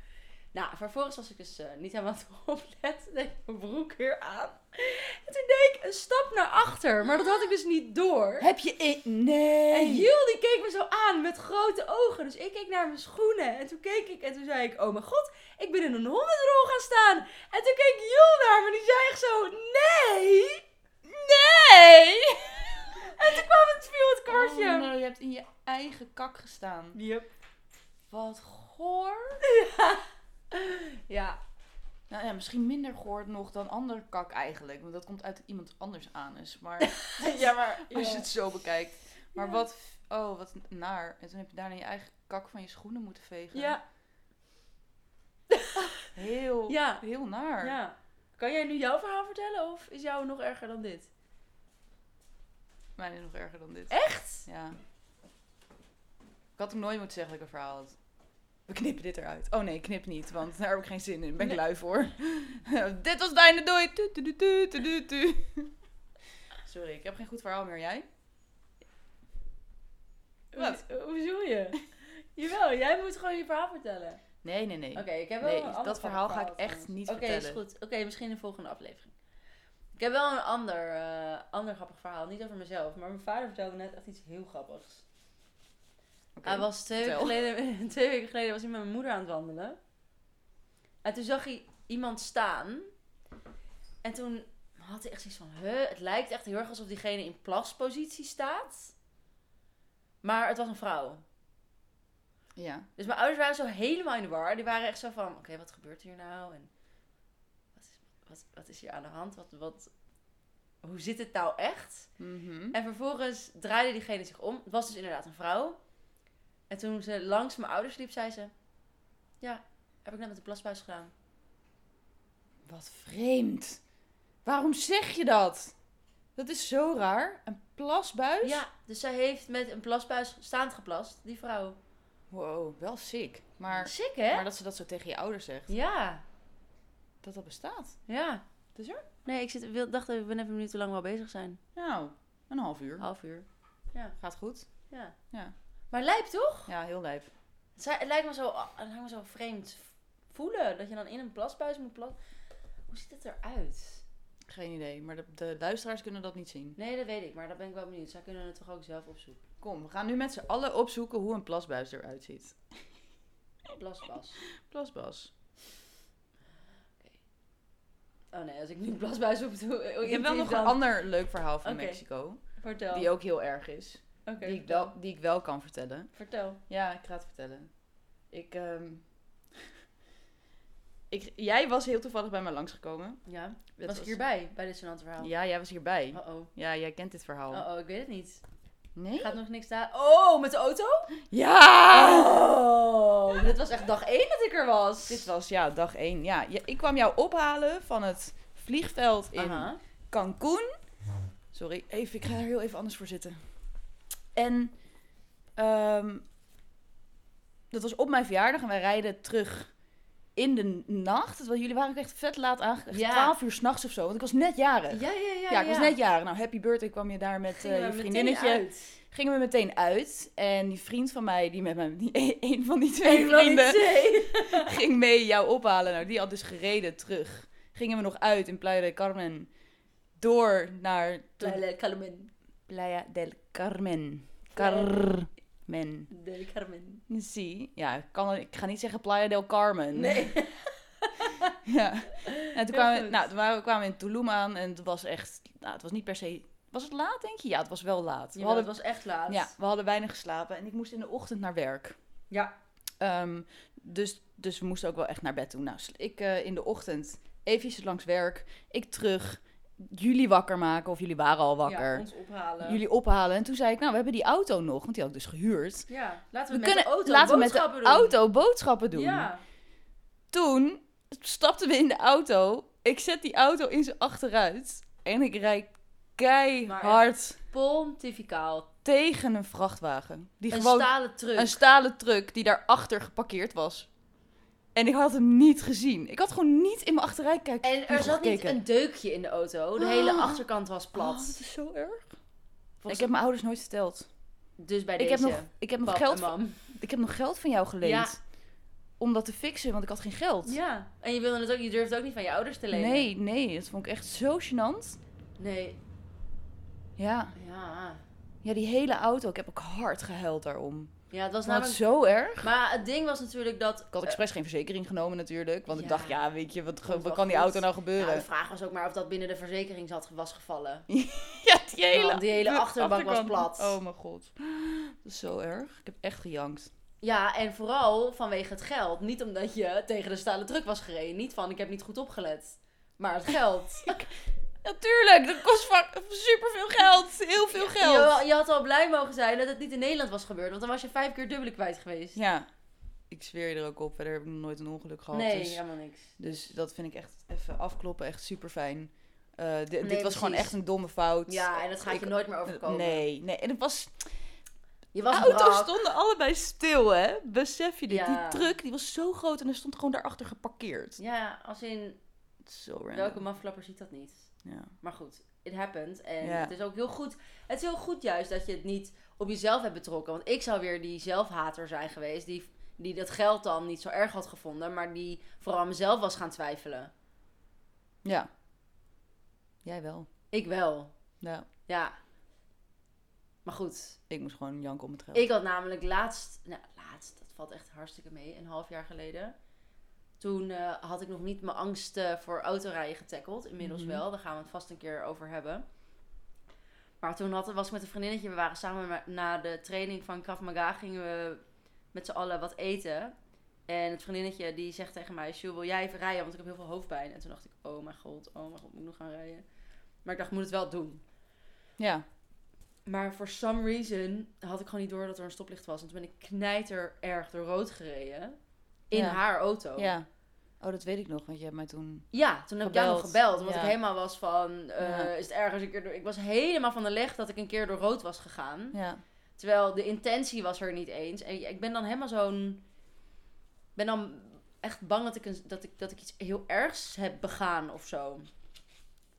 Nou, vervolgens was ik dus eh, niet helemaal te opletten. Deed ik mijn broek weer aan. En toen deed ik een stap naar achter. Maar dat had ik dus niet door.
Heb je... in-
En
Nee! Oh,
Jules die keek me zo aan met grote ogen. Dus ik keek naar mijn schoenen. En toen keek ik en toen zei ik, oh mijn god, ik ben in een hondenrol gaan staan. En toen keek Jules naar me en die zei echt zo, nee, nee. En toen kwam het, viel het kwartje.
Oh, nee, je hebt in je eigen kak gestaan.
Yep.
Wat goor.
Ja,
Nou ja, misschien minder goor nog dan ander kak eigenlijk. Want dat komt uit iemand anders anus. Maar
ja maar...
als je het zo bekijkt. Maar
Ja.
wat... Oh, wat naar. En toen heb je daarna je eigen kak van je schoenen moeten vegen.
Ja,
Heel,
Ja.
heel naar.
ja. Kan jij nu jouw verhaal vertellen of is jouw nog erger dan dit?
Mijn is nog erger dan dit.
Echt?
Ja. Ik had hem nooit moeten zeggen dat ik een verhaal had. We knippen dit eruit. Oh nee, knip niet, want daar heb ik geen zin in. Ben ik
Nee.
lui voor. dit was Dijne Doei. Tu, tu, tu, tu, tu, tu, tu. Sorry, ik heb geen goed verhaal meer. Jij? Wat?
Hoe, hoe bedoel je? Jawel, jij moet gewoon je verhaal vertellen.
Nee, nee, nee.
Oké, ik heb wel
nee,
een ander
dat verhaal ga ik
trouwens.
echt niet
Oké, is
vertellen.
goed. Oké, misschien in de volgende aflevering. Ik heb wel een ander, eh, ander grappig verhaal. Niet over mezelf, maar mijn vader vertelde net echt iets heel grappigs.
Oké.
Hij was twee weken,
vertel.
geleden, twee weken geleden was hij met mijn moeder aan het wandelen. En toen zag hij iemand staan. En toen had hij echt zoiets van... Huh? Het lijkt echt heel erg alsof diegene in plaspositie staat. Maar het was een vrouw.
Ja.
Dus mijn ouders waren zo helemaal in de war. Die waren echt zo van, oké, wat gebeurt hier nou? En wat is, wat, wat is hier aan de hand? Wat, wat, hoe zit het nou echt?
Mhm.
En vervolgens draaide diegene zich om. Het was dus inderdaad een vrouw. En toen ze langs mijn ouders liep, zei ze... Ja, heb ik net met de plasbuis gedaan.
Wat vreemd. Waarom zeg je dat? Dat is zo raar. Een plasbuis?
Ja, dus zij heeft met een plasbuis staand geplast, die vrouw.
Wow, wel sick. Maar
Sick, hè?
Maar dat ze dat zo tegen je ouders zegt.
Ja,
Dat dat bestaat.
ja.
Dus er?
Nee, ik zit, wil, dacht even, ik ben even benieuwd hoe lang we al bezig zijn.
Nou, een half uur.
Half uur.
Gaat goed.
Ja.
Ja.
Maar lijp toch?
Ja, heel lijp.
Het zij- Het lijkt me, zo, ah, het lijkt me zo vreemd voelen. Dat je dan in een plasbuis moet plassen. Hoe ziet het eruit?
Geen idee. Maar de, de luisteraars kunnen dat niet zien.
Nee, dat weet ik. Maar daar ben ik wel benieuwd. Zij kunnen het toch ook zelf opzoeken.
Kom, we gaan nu met z'n allen opzoeken hoe een plasbuis eruit ziet.
Plasbas.
Plasbas.
Oh nee, als ik nu plasbuis op doe... eh,
Ik heb wel nog een ander leuk verhaal van
Oké.
Mexico.
Vertel.
Die ook heel erg is.
Oké,
Die, ik wel, die ik wel kan vertellen.
Vertel.
Ja, ik ga het vertellen. Ik, ehm, ik, jij was heel toevallig bij mij langsgekomen.
Ja.
Dat
was ik hierbij? Oh. Bij dit gênante verhaal?
Ja, jij was hierbij.
Oh-oh.
Ja, jij kent dit verhaal.
Oh-oh, ik weet het niet.
Nee?
Oh. Gaat nog niks daar... Oh, met de auto?
Ja!
Oh! Dit was echt dag één dat ik er was.
Dit was ja, dag 1. Ja, je- ik kwam jou ophalen van het vliegveld in
Aha.
Cancún. Sorry, even, ik ga er heel even anders voor zitten. En ehm, dat was op mijn verjaardag en wij rijden terug in de nacht. Het was- Jullie waren ook echt vet laat aangekomen.
Ja.
12 uur s'nachts of zo, want ik was net jarig. Ja,
Ja, ja, ja.
ik was net jarig. Nou, happy birthday kwam je daar met
Gingen
eh, je
we meteen
vriendinnetje.
uit.
Gingen we meteen uit. En die vriend van mij, die met mij, die, een van die twee
Eén van die
vrienden
twee.
ging mee jou ophalen. Nou, die had dus gereden terug. Gingen we nog uit in Playa del Carmen. Door naar de
Playa Carmen.
Playa del Carmen.
Playa
Carmen.
Del Carmen.
Zie. Ja, ik, kan, ik ga niet zeggen Playa del Carmen.
Nee.
Ja. En toen
Heel
kwamen, we-
goed.
nou, toen waren we kwamen we in Tulum aan. En het was echt... Nou, het was niet per se... Was het laat, denk je? Ja, het was wel laat.
Ja, het was echt laat.
ja, we hadden weinig geslapen. En ik moest in de ochtend naar werk.
Ja.
Ehm, Dus, dus we moesten ook wel echt naar bed toe. Nou, sl- ik eh, in de ochtend eventjes langs werk. Ik terug. Jullie wakker maken, of jullie waren al wakker.
Ja, ons ophalen.
jullie ophalen. En toen zei ik, nou, we hebben die auto nog. Want die had ik dus gehuurd.
Ja, laten
We
we, met
kunnen,
de auto
laten we met de
boodschappen doen.
auto boodschappen doen.
Ja.
Toen stapten we in de auto. Ik zet die auto in zijn achteruit. En ik rijd keihard
Pontificaal.
tegen een vrachtwagen. Die
Een
gewoon
stalen truck.
een stalen truck die daarachter geparkeerd was. En ik had hem niet gezien. Ik had gewoon niet in mijn achteruit kijken.
En er zat niet een deukje in de auto. De
Ah.
hele achterkant was
plat.
plat.
dat is zo erg.
Volgens-
Ik heb mijn ouders nooit verteld.
Dus bij
Ik
deze.
heb, nog, ik, heb nog
pap
geld,
en mam.
ik heb nog geld van jou geleend.
Ja.
Om dat te fixen, want ik had geen geld.
Ja. En je wilde het ook, je durft het ook niet van je ouders te lenen.
nee, nee. Dat vond ik echt zo gênant.
Nee.
Ja.
Ja.
Ja, die hele auto. Ik heb ook hard gehuild daarom.
Ja, het was
Dat was
namelijk...
zo erg.
Maar het ding was natuurlijk dat... eh, nou,
Ik had expres geen verzekering genomen natuurlijk. Want ik
ja.
dacht, ja, weet je, wat, ge-
Komt
wat
wel
kan die
goed.
auto nou
Nou,
gebeuren?
de vraag was ook maar of dat binnen de verzekering zat, was gevallen.
Ja, die
Want die hele
de
achterbank was
achterkant.
plat.
Oh mijn god. Dat is zo erg. Ik heb echt gejankt.
Ja, en vooral vanwege het geld. Niet omdat je tegen de stalen truck was gereden. Niet van, ik heb niet goed opgelet. Maar het geld.
Natuurlijk, dat kost superveel geld. Heel veel
Je, je had al blij mogen zijn dat het niet in Nederland was gebeurd. Want dan was je vijf keer dubbele kwijt geweest.
Ja, ik zweer je er ook op. Verder heb ik nog nooit een ongeluk gehad.
nee,
dus,
helemaal niks.
dus dat vind ik echt even afkloppen. Echt super fijn. dit was
precies.
gewoon echt een domme fout.
Ja, en dat gaat
Ik-
je nooit meer overkomen.
Nee, nee. En het was
Je was
auto's
brak.
stonden allebei stil, hè? Besef je dit?
Ja.
Die truck die was zo groot en er stond gewoon daarachter geparkeerd.
Ja, als in...
Zo random.
Welke maflapper ziet dat niet?
Ja.
Maar goed, it happened. En
Ja.
het is ook heel goed. Het is heel goed juist dat je het niet op jezelf hebt betrokken. Want ik zou weer die zelfhater zijn geweest. Die, die dat geld dan niet zo erg had gevonden. Maar die vooral aan mezelf was gaan twijfelen.
ja. Jij wel.
Ik wel.
Ja.
Ja. Maar goed.
Ik moest gewoon janken om het geld.
Ik had namelijk laatst... Nou, laatst. Dat valt echt hartstikke mee. Een half jaar geleden. Toen eh, had ik nog niet mijn angst eh, voor autorijden getackeld. Inmiddels
Mhm.
wel. Daar gaan we het vast een keer over hebben. Maar toen had, was ik met een vriendinnetje. We waren samen maar na de training van Krav Maga. Gingen we met z'n allen wat eten. En het vriendinnetje die zegt tegen mij... Sjoe, wil jij even rijden? Want ik heb heel veel hoofdpijn. En toen dacht ik... Oh mijn god, oh mijn god, moet ik nog gaan rijden? Maar ik dacht, ik moet het wel doen.
Ja.
Maar for some reason had ik gewoon niet door dat er een stoplicht was. En toen ben ik knijter erg door rood gereden. In
Ja.
haar auto.
Ja. Oh, dat weet ik nog, want je hebt mij toen...
Ja, toen heb ik jou nog
Gebeld.
gebeld. Want
Ja.
ik helemaal was van, eh,
Ja.
is het erg als ik er door... Ik was helemaal van de leg dat ik een keer door rood was gegaan.
Ja.
Terwijl de intentie was er niet eens. En ik ben dan helemaal zo'n... ben dan echt bang dat ik, een, dat, ik, dat ik iets heel ergs heb begaan of zo.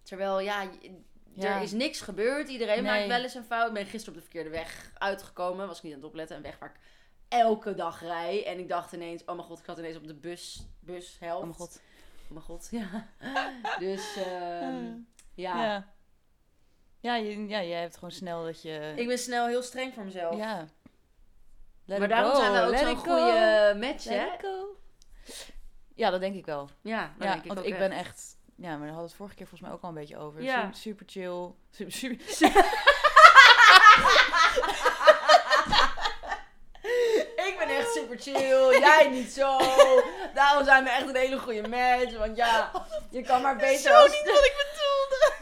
Terwijl, ja, je-
Ja.
er is niks gebeurd. Iedereen
Nee.
maakt wel eens een fout. Ik ben gisteren op de verkeerde weg uitgekomen. Was ik niet aan het opletten. Een weg waar ik elke dag rij. En ik dacht ineens, oh mijn god, ik zat ineens op de bus, bushelft.
Oh mijn god.
Oh mijn god, ja. dus, ehm, ja.
Hmm. Ja. Ja, je, ja, jij hebt gewoon snel dat je...
Ik ben snel heel streng voor mezelf.
Ja. Let
maar
it
daarom
go,
zijn we ook
let
zo'n
it go,
goede match,
let
hè?
it go. Ja, dat denk ik wel.
Ja, dat
ja,
denk ik
want
ook
ik
echt.
ben echt... Ja, maar daar hadden we het vorige keer volgens mij ook al een beetje over.
Ja.
Super, super chill. Super, super,
Ik ben echt super chill, jij niet zo. Daarom zijn we echt een hele goede match. Want ja, je kan maar beter
zo
als...
niet wat ik bedoelde.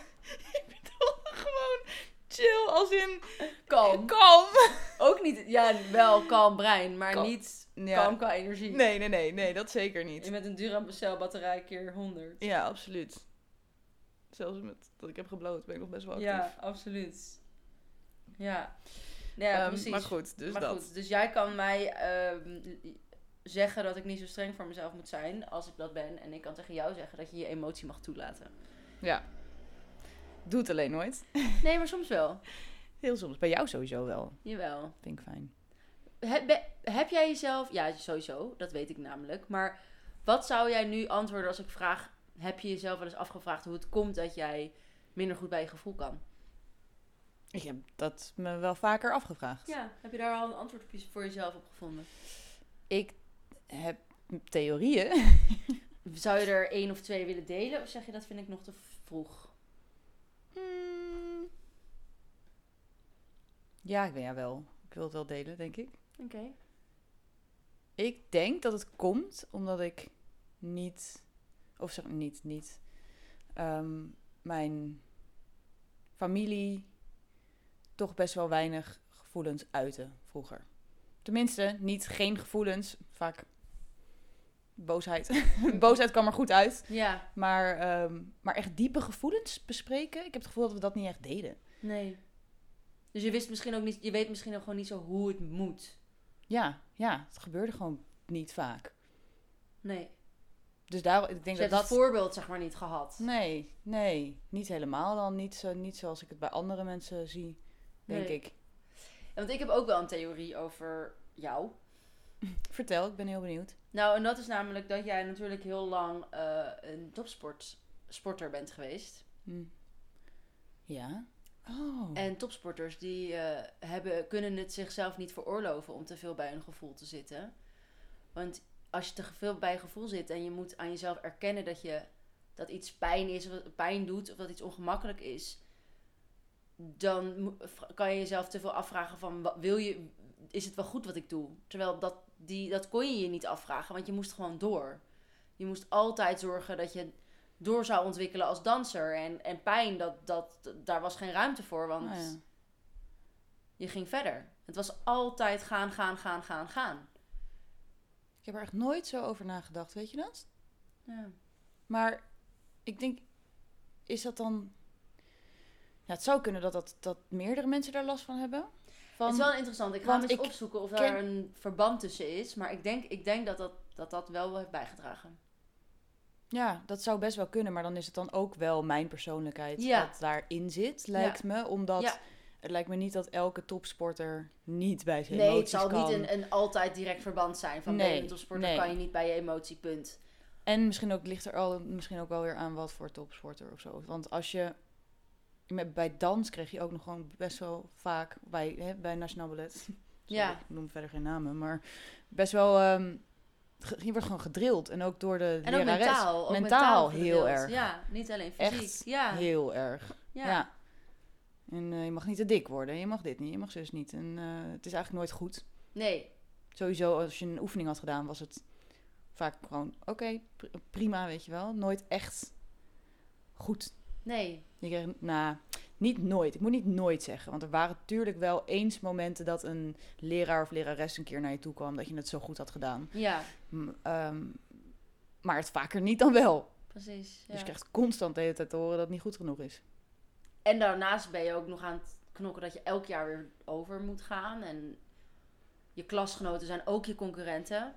ik bedoelde gewoon chill als in
kalm.
kalm.
Ook niet, ja, wel kalm brein, maar
Kalm.
niet
Ja.
kalm qua energie.
Nee, nee, nee, nee, dat zeker niet.
En met een Duracell batterij keer 100.
Ja, absoluut. Zelfs met dat ik heb gebloot ben ik nog best wel actief.
Ja, absoluut. Ja. Ja,
Ehm,
precies.
Maar goed, dus
maar
dat.
goed, dus jij kan mij ehm, zeggen dat ik niet zo streng voor mezelf moet zijn als ik dat ben. En ik kan tegen jou zeggen dat je je emotie mag toelaten.
Ja. Doe het alleen nooit.
Nee, maar soms wel.
Heel soms. Bij jou sowieso wel.
Jawel.
Vind ik fijn.
Heb, be- heb jij jezelf... Ja, sowieso. Dat weet ik namelijk. Maar wat zou jij nu antwoorden als ik vraag... Heb je jezelf wel eens afgevraagd hoe het komt dat jij minder goed bij je gevoel kan?
Ik heb dat me wel vaker afgevraagd.
Ja, heb je daar al een antwoord op je- voor jezelf op gevonden?
Ik heb theorieën.
Zou je er één of twee willen delen? Of zeg je dat vind ik nog te vroeg?
Hmm. Ja, ik ben ja wel. Ik wil het wel delen, denk ik.
Oké.
Ik denk dat het komt omdat ik niet, of zeg niet, niet, ehm, mijn familie toch best wel weinig gevoelens uitte vroeger. Tenminste, niet geen gevoelens, vaak boosheid. boosheid kwam er goed uit,
Ja,
maar, ehm, maar echt diepe gevoelens bespreken, ik heb het gevoel dat we dat niet echt deden.
nee. Dus je wist misschien ook niet, je weet misschien ook gewoon niet zo hoe het moet.
Ja, ja, het gebeurde gewoon niet vaak.
Nee.
Dus daar, ik
Dus
denk
je hebt
dat
dat
dat...
voorbeeld zeg maar niet gehad.
Nee, nee, niet helemaal dan. Niet, zo, niet zoals ik het bij andere mensen zie, denk
Nee.
ik.
Want ik heb ook wel een theorie over jou.
Vertel, ik ben heel benieuwd.
Nou, en dat is namelijk dat jij natuurlijk heel lang eh, een topsporter bent geweest.
Hm. Ja? Oh.
En topsporters die eh, hebben, kunnen het zichzelf niet veroorloven om te veel bij hun gevoel te zitten. Want als je te veel bij je gevoel zit en je moet aan jezelf erkennen dat, je, dat iets pijn is, of dat pijn doet, of dat iets ongemakkelijk is, dan mo- v- kan je jezelf te veel afvragen van, wa- wil je, is het wel goed wat ik doe? Terwijl dat, die, dat kon je je niet afvragen, want je moest gewoon door. Je moest altijd zorgen dat je door zou ontwikkelen als danser. En, en pijn, dat, dat, daar was geen ruimte voor, want
Ah, ja.
je ging verder. Het was altijd gaan, gaan, gaan, gaan, gaan.
Ik heb er echt nooit zo over nagedacht, weet je dat?
Ja.
Maar ik denk, is dat dan... Ja, het zou kunnen dat, dat, dat meerdere mensen daar last van hebben. Van...
het is wel interessant. Ik ga
want
hem eens
ik
opzoeken of
ken-
daar een verband tussen is. Maar ik denk, ik denk dat, dat, dat dat wel heeft bijgedragen.
Ja, dat zou best wel kunnen, maar dan is het dan ook wel mijn persoonlijkheid
Ja.
dat daarin zit, lijkt me. Omdat
Ja.
het lijkt me niet dat elke topsporter niet bij zijn
Nee, het
emoties
zal
kan.
niet een, een altijd direct verband zijn. Van
Nee,
nee, topsporter
nee.
kan je niet bij je emotie, punt.
En misschien ook ligt er al, misschien ook wel weer aan wat voor topsporter of zo. Want als je met, bij dans kreeg je ook nog gewoon best wel vaak bij, hè, bij Nationaal Ballet. Sorry,
Ja.
Ik noem verder geen namen, maar best wel. ehm, ge- je wordt gewoon gedrild en ook door de
En ook
lerares.
mentaal. Ook
Mentaal, heel
gedeeld.
erg.
Ja, niet alleen fysiek.
Echt
ja,
Heel erg. Ja.
ja.
En eh, je mag niet te dik worden, je mag dit niet, je mag zus niet. En eh, het is eigenlijk nooit goed.
Nee,
Sowieso, als je een oefening had gedaan, was het vaak gewoon oké, pr- prima, weet je wel. Nooit echt goed.
nee.
Ik kreeg, nou, niet nooit. Ik moet niet nooit zeggen. Want er waren natuurlijk wel eens momenten dat een leraar of lerares een keer naar je toe kwam. Dat je het zo goed had gedaan.
Ja,
M- ehm, maar het vaker niet dan wel.
precies. Ja.
Dus je krijgt constant de hele tijd te horen dat het niet goed genoeg is.
En daarnaast ben je ook nog aan het knokken dat je elk jaar weer over moet gaan. En je klasgenoten zijn ook je concurrenten.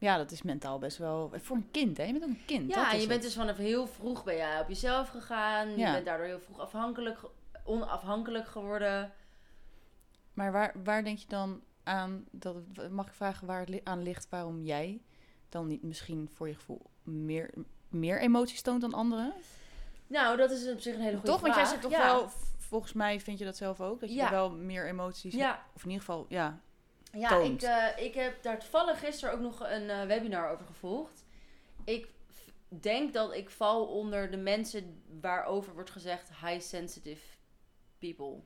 Ja, dat is mentaal best wel... Voor een kind, hè? Je bent ook een kind. dat
ja, en
is
je bent
het.
dus vanaf heel vroeg ben jij op jezelf gegaan.
Ja.
Je bent daardoor heel vroeg afhankelijk, ge- onafhankelijk geworden.
Maar waar, waar denk je dan aan... Dat, het- mag ik vragen waar het li- aan ligt waarom jij dan niet misschien voor je gevoel meer, meer emoties toont dan anderen?
Nou, dat is op zich een hele goede
Toch?
vraag.
Want jij zegt toch
ja.
wel, v- volgens mij vind je dat zelf ook, dat je
Ja.
er wel meer emoties hebt.
Ja,
Of in ieder geval, ja.
ja
toont.
ik, eh, ik heb daar toevallig gisteren ook nog een eh, webinar over gevolgd. Ik f- denk dat ik val onder de mensen waarover wordt gezegd high sensitive people.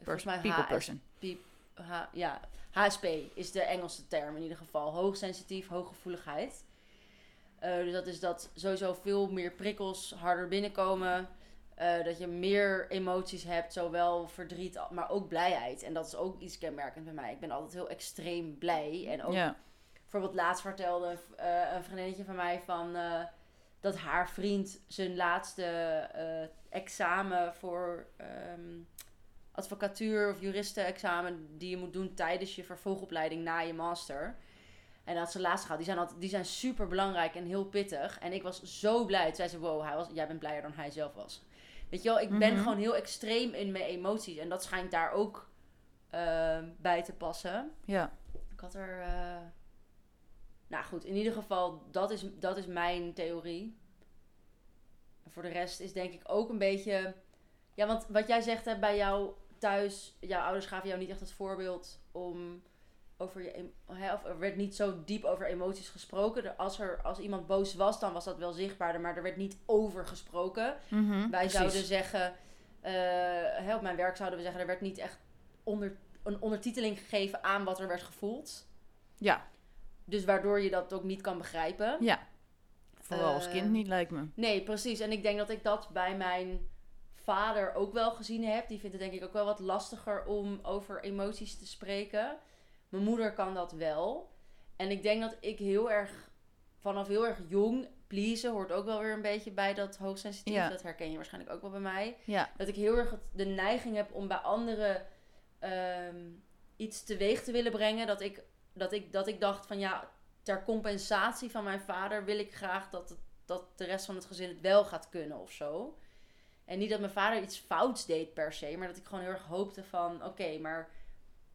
Volgens mij
people
HS
person.
H- ja, HSP is de Engelse term in ieder geval. Hoogsensitief, hooggevoeligheid. Eh, dus dat is dat sowieso veel meer prikkels harder binnenkomen. Eh, dat je meer emoties hebt, zowel verdriet, al- maar ook blijheid. En dat is ook iets kenmerkend bij mij. Ik ben altijd heel extreem blij. En ook
Ja.
bijvoorbeeld laatst vertelde een v- eh, een vriendinnetje van mij van... eh, dat haar vriend zijn laatste eh, examen voor ehm, advocatuur of juristenexamen die je moet doen tijdens je vervolgopleiding na je master. En dat had ze laatst gehad. Die zijn, altijd, die zijn super belangrijk en heel pittig. En ik was zo blij. Toen zei ze: Wow, hij was, jij bent blijer dan hij zelf was. Weet je wel, ik ben
Mhm.
gewoon heel extreem in mijn emoties. En dat schijnt daar ook ehm, bij te passen.
ja.
Ik had er. eh, Nou goed, in ieder geval, dat is, dat is mijn theorie. En voor de rest is denk ik ook een beetje. Ja, want wat jij zegt hè, bij jou thuis, jouw ouders gaven jou niet echt het voorbeeld om over je. em- Hè, of er werd niet zo diep over emoties gesproken. Er- Als, er, als iemand boos was, dan was dat wel zichtbaarder, maar er werd niet over gesproken.
Mhm,
Wij
precies.
zouden zeggen, eh, hè, op mijn werk zouden we zeggen, er werd niet echt onder een ondertiteling gegeven aan wat er werd gevoeld.
Ja.
Dus waardoor je dat ook niet kan begrijpen.
Ja. Vooral als
dus- Eh,
kind niet, lijkt me.
Nee, precies. En ik denk dat ik dat bij mijn vader ook wel gezien heb. Die vindt het denk ik ook wel wat lastiger om over emoties te spreken. Mijn moeder kan dat wel. En ik denk dat ik heel erg, vanaf heel erg jong, pleasen hoort ook wel weer een beetje bij dat hoogsensitief.
Ja.
Dat herken je waarschijnlijk ook wel bij mij.
Ja.
Dat ik heel erg het- de neiging heb om bij anderen ehm, iets teweeg te willen brengen. Dat ik, dat, ik, dat ik dacht van ja, ter compensatie van mijn vader wil ik graag dat, het, dat de rest van het gezin het wel gaat kunnen of zo. En niet dat mijn vader iets fouts deed per se, maar dat ik gewoon heel erg hoopte van oké, maar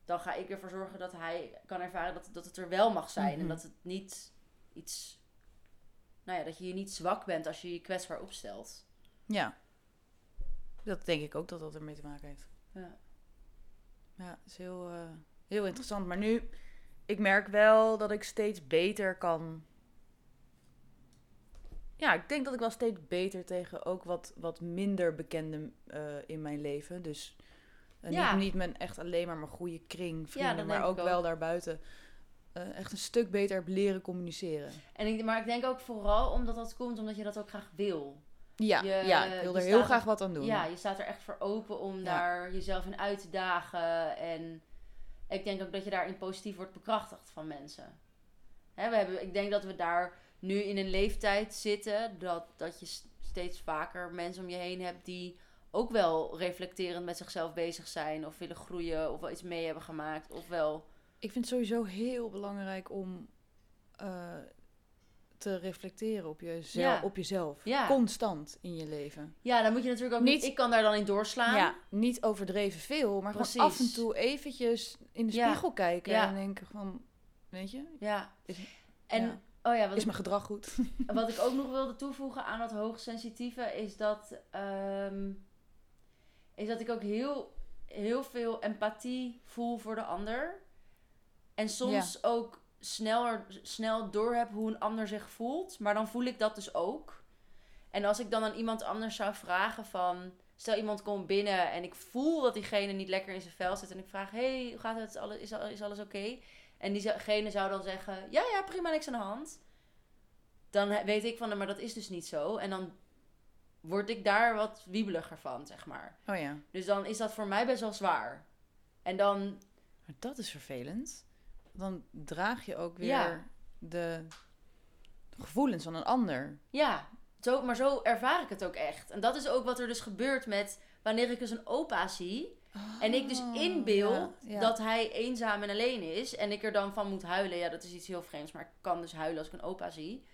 dan ga ik ervoor zorgen dat hij kan ervaren dat, dat het er wel mag zijn. En
Mhm.
dat het niet iets, nou ja, dat je je niet zwak bent als je je kwetsbaar opstelt.
Ja. Dat denk ik ook dat dat ermee te maken heeft.
Ja.
Ja, is heel, eh, heel interessant. Maar nu, ik merk wel dat ik steeds beter kan. Ja, ik denk dat ik wel steeds beter tegen ook wat, wat minder bekenden eh, in mijn leven. Dus eh,
Ja.
niet, niet mijn, echt alleen maar mijn goede kring, vrienden,
dat
maar
denk
ook,
ik ook.
wel daarbuiten. eh, echt een stuk beter heb leren communiceren.
En ik, maar ik denk ook vooral omdat dat komt omdat je dat ook graag wil.
Ja,
Je-
ja ik wil
je
er heel
staat-
graag wat aan doen.
Ja, je staat er echt voor open om
Ja.
daar jezelf in uit te dagen. En ik denk ook dat je daarin positief wordt bekrachtigd van mensen. Hè, we hebben, ik denk dat we daar nu in een leeftijd zitten dat, dat je s- steeds vaker mensen om je heen hebt die ook wel reflecterend met zichzelf bezig zijn of willen groeien of wel iets mee hebben gemaakt of wel
Ik vind het sowieso heel belangrijk om eh, te reflecteren op, jezelf,
Ja.
op jezelf.
Ja.
Constant in je leven.
ja dan moet je natuurlijk ook niet,
Niet-
ik kan daar dan in doorslaan
Ja, niet overdreven veel, maar gewoon af
Precies.
en toe eventjes in de
Ja.
spiegel kijken
Ja.
en denken van, weet je,
Ja.
Is-
en
Dus- ja.
oh ja wat
is
ik
mijn gedrag goed?
Wat ik ook nog wilde toevoegen aan dat hoogsensitieve is dat, ehm, is dat ik ook heel, heel veel empathie voel voor de ander. En soms ook sneller, snel doorheb hoe een ander zich voelt. Maar dan voel ik dat dus ook. En als ik dan aan iemand anders zou vragen van... Stel iemand komt binnen en ik voel dat diegene niet lekker in zijn vel zit. En ik vraag, hey, hoe gaat het? Is alles, is al- is alles oké? En diegene zou dan zeggen, ja, ja, prima, niks aan de hand. Dan he- weet ik van, "Nee, maar dat is dus niet zo. En dan word ik daar wat wiebeliger van, zeg maar.
Oh ja,
Dus dan is dat voor mij best wel zwaar. En dan,
maar dat is vervelend. Dan draag je ook weer
Ja.
de gevoelens van een ander.
ja, zo, maar zo ervaar ik het ook echt. En dat is ook wat er dus gebeurt met wanneer ik dus een opa zie. En ik dus inbeeld
Oh, Ja, ja.
dat hij eenzaam en alleen is. En ik er dan van moet huilen. Ja, dat is iets heel vreemds. Maar ik kan dus huilen als ik een opa zie.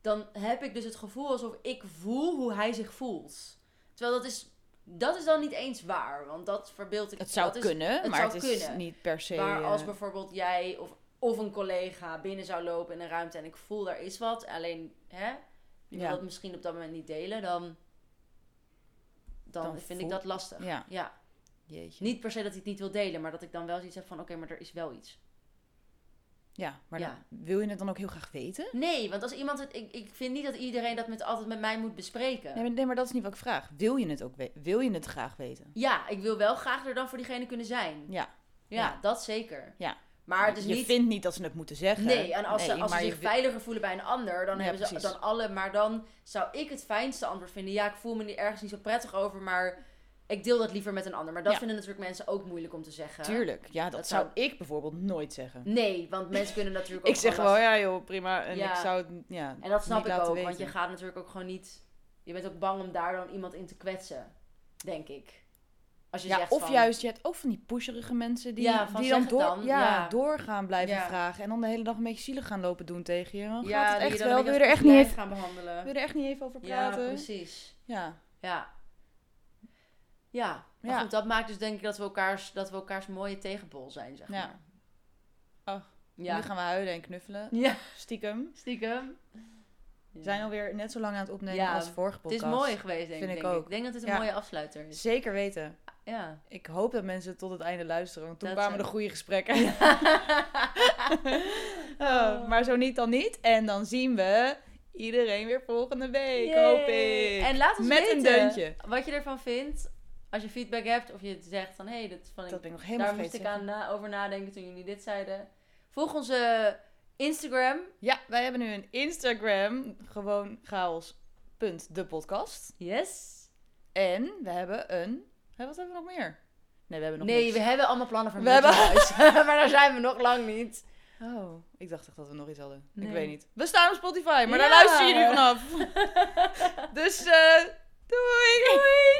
Dan heb ik dus het gevoel alsof ik voel hoe hij zich voelt. Terwijl dat is, dat is dan niet eens waar. Want dat verbeeld ik.
Het zou
dat is
kunnen,
het
maar
zou
het is
kunnen.
niet per se...
Maar als
eh,
bijvoorbeeld jij of, of een collega binnen zou lopen in een ruimte en ik voel daar is wat, alleen hè, je wil
Ja.
dat misschien op dat moment niet delen, dan, dan,
Dan
vind ik
voel-
dat lastig. Ja.
Ja, jeetje.
Niet per se dat ik het niet wil delen, maar dat ik dan wel zoiets heb van: oké, maar er is wel iets.
Ja, maar
Ja.
dan- wil je het dan ook heel graag weten?
Nee, want als iemand het. Ik, ik vind niet dat iedereen dat met, altijd met mij moet bespreken.
Nee maar, nee, maar dat is niet wat ik vraag. Wil je het ook we- Wil je het graag weten?
Ja, ik wil wel graag er dan voor diegene kunnen zijn. Ja,
Ja.
dat zeker.
Ja.
Maar het is
je
niet.
vindt niet dat ze het moeten zeggen.
Nee, en als ze, als ze
maar je
zich
wi-
veiliger voelen bij een ander, dan
Ja,
hebben ze
precies.
dan alle. Maar dan zou ik het fijnste antwoord vinden. Ja, ik voel me niet- ergens niet zo prettig over, maar ik deel dat liever met een ander. Maar dat
Ja.
vinden natuurlijk mensen ook moeilijk om te zeggen.
Tuurlijk. Ja, dat,
Dat
zou
zou-
ik bijvoorbeeld nooit zeggen.
Nee, want mensen kunnen natuurlijk ook.
Ik zeg
gewoon
wel,
lastig-
ja joh, prima. En
Ja.
ik zou het ja,
En dat
niet
snap ik ook,
laten
want je
weten.
gaat natuurlijk ook gewoon niet. Je bent ook bang om daar dan iemand in te kwetsen, denk ik. Als je
Ja,
zegt
of
van,
juist, je hebt ook van die pusherige mensen die,
Ja, van
die
zeg
dan,
het
door,
dan.
Ja,
Ja.
doorgaan blijven
Ja,
vragen. En dan de hele dag een beetje zielig gaan lopen doen tegen je. Dan
Ja,
gaat het
die
echt
dan
wel.
een
Wil
beetje
je er
als
echt niet
klein
even,
gaan
wil
behandelen.
je er echt niet even over
Ja,
praten?
precies.
Ja.
Ja. Ja. Maar
Ja.
goed, dat maakt dus denk ik dat we elkaars, dat we elkaars mooie tegenpol zijn, zeg
Ja.
maar.
Ach, Nu
Ja.
gaan we huilen en knuffelen.
Ja,
Stiekem.
stiekem.
We zijn alweer net zo lang aan het opnemen
Ja,
als de vorige
Het is
podcast.
mooi geweest, denk,
Vind
ik,
ik
denk ik.
ook.
Ik denk dat het een
Ja.
mooie afsluiter is.
Zeker weten.
Ja.
Ik hoop dat mensen tot het einde luisteren, want toen
Dat
kwamen
zou-
de goede gesprekken. Oh, maar zo niet, dan niet. En dan zien we iedereen weer volgende week, hoop
Yay.
ik.
En laat ons
Met
weten
een deuntje.
wat je ervan vindt. als je feedback hebt of je zegt van hé, hey, dat vond ik
Dat ben ik nog helemaal
Daar moest ik
vergeten.
aan na- over nadenken toen jullie dit zeiden. Volg onze Instagram.
Ja, wij hebben nu een Instagram. Gewoon chaos.depodcast.
Yes.
En we hebben een... Hé, wat hebben we nog meer? Nee, we hebben nog
nee,
niks.
we hebben allemaal plannen voor
We hebben-
merchandise. maar daar zijn we nog lang niet.
Oh, ik dacht echt dat we nog iets hadden.
Nee.
Ik weet niet. We staan op Spotify, maar
Ja.
daar luisteren jullie vanaf. dus eh doei! Doei!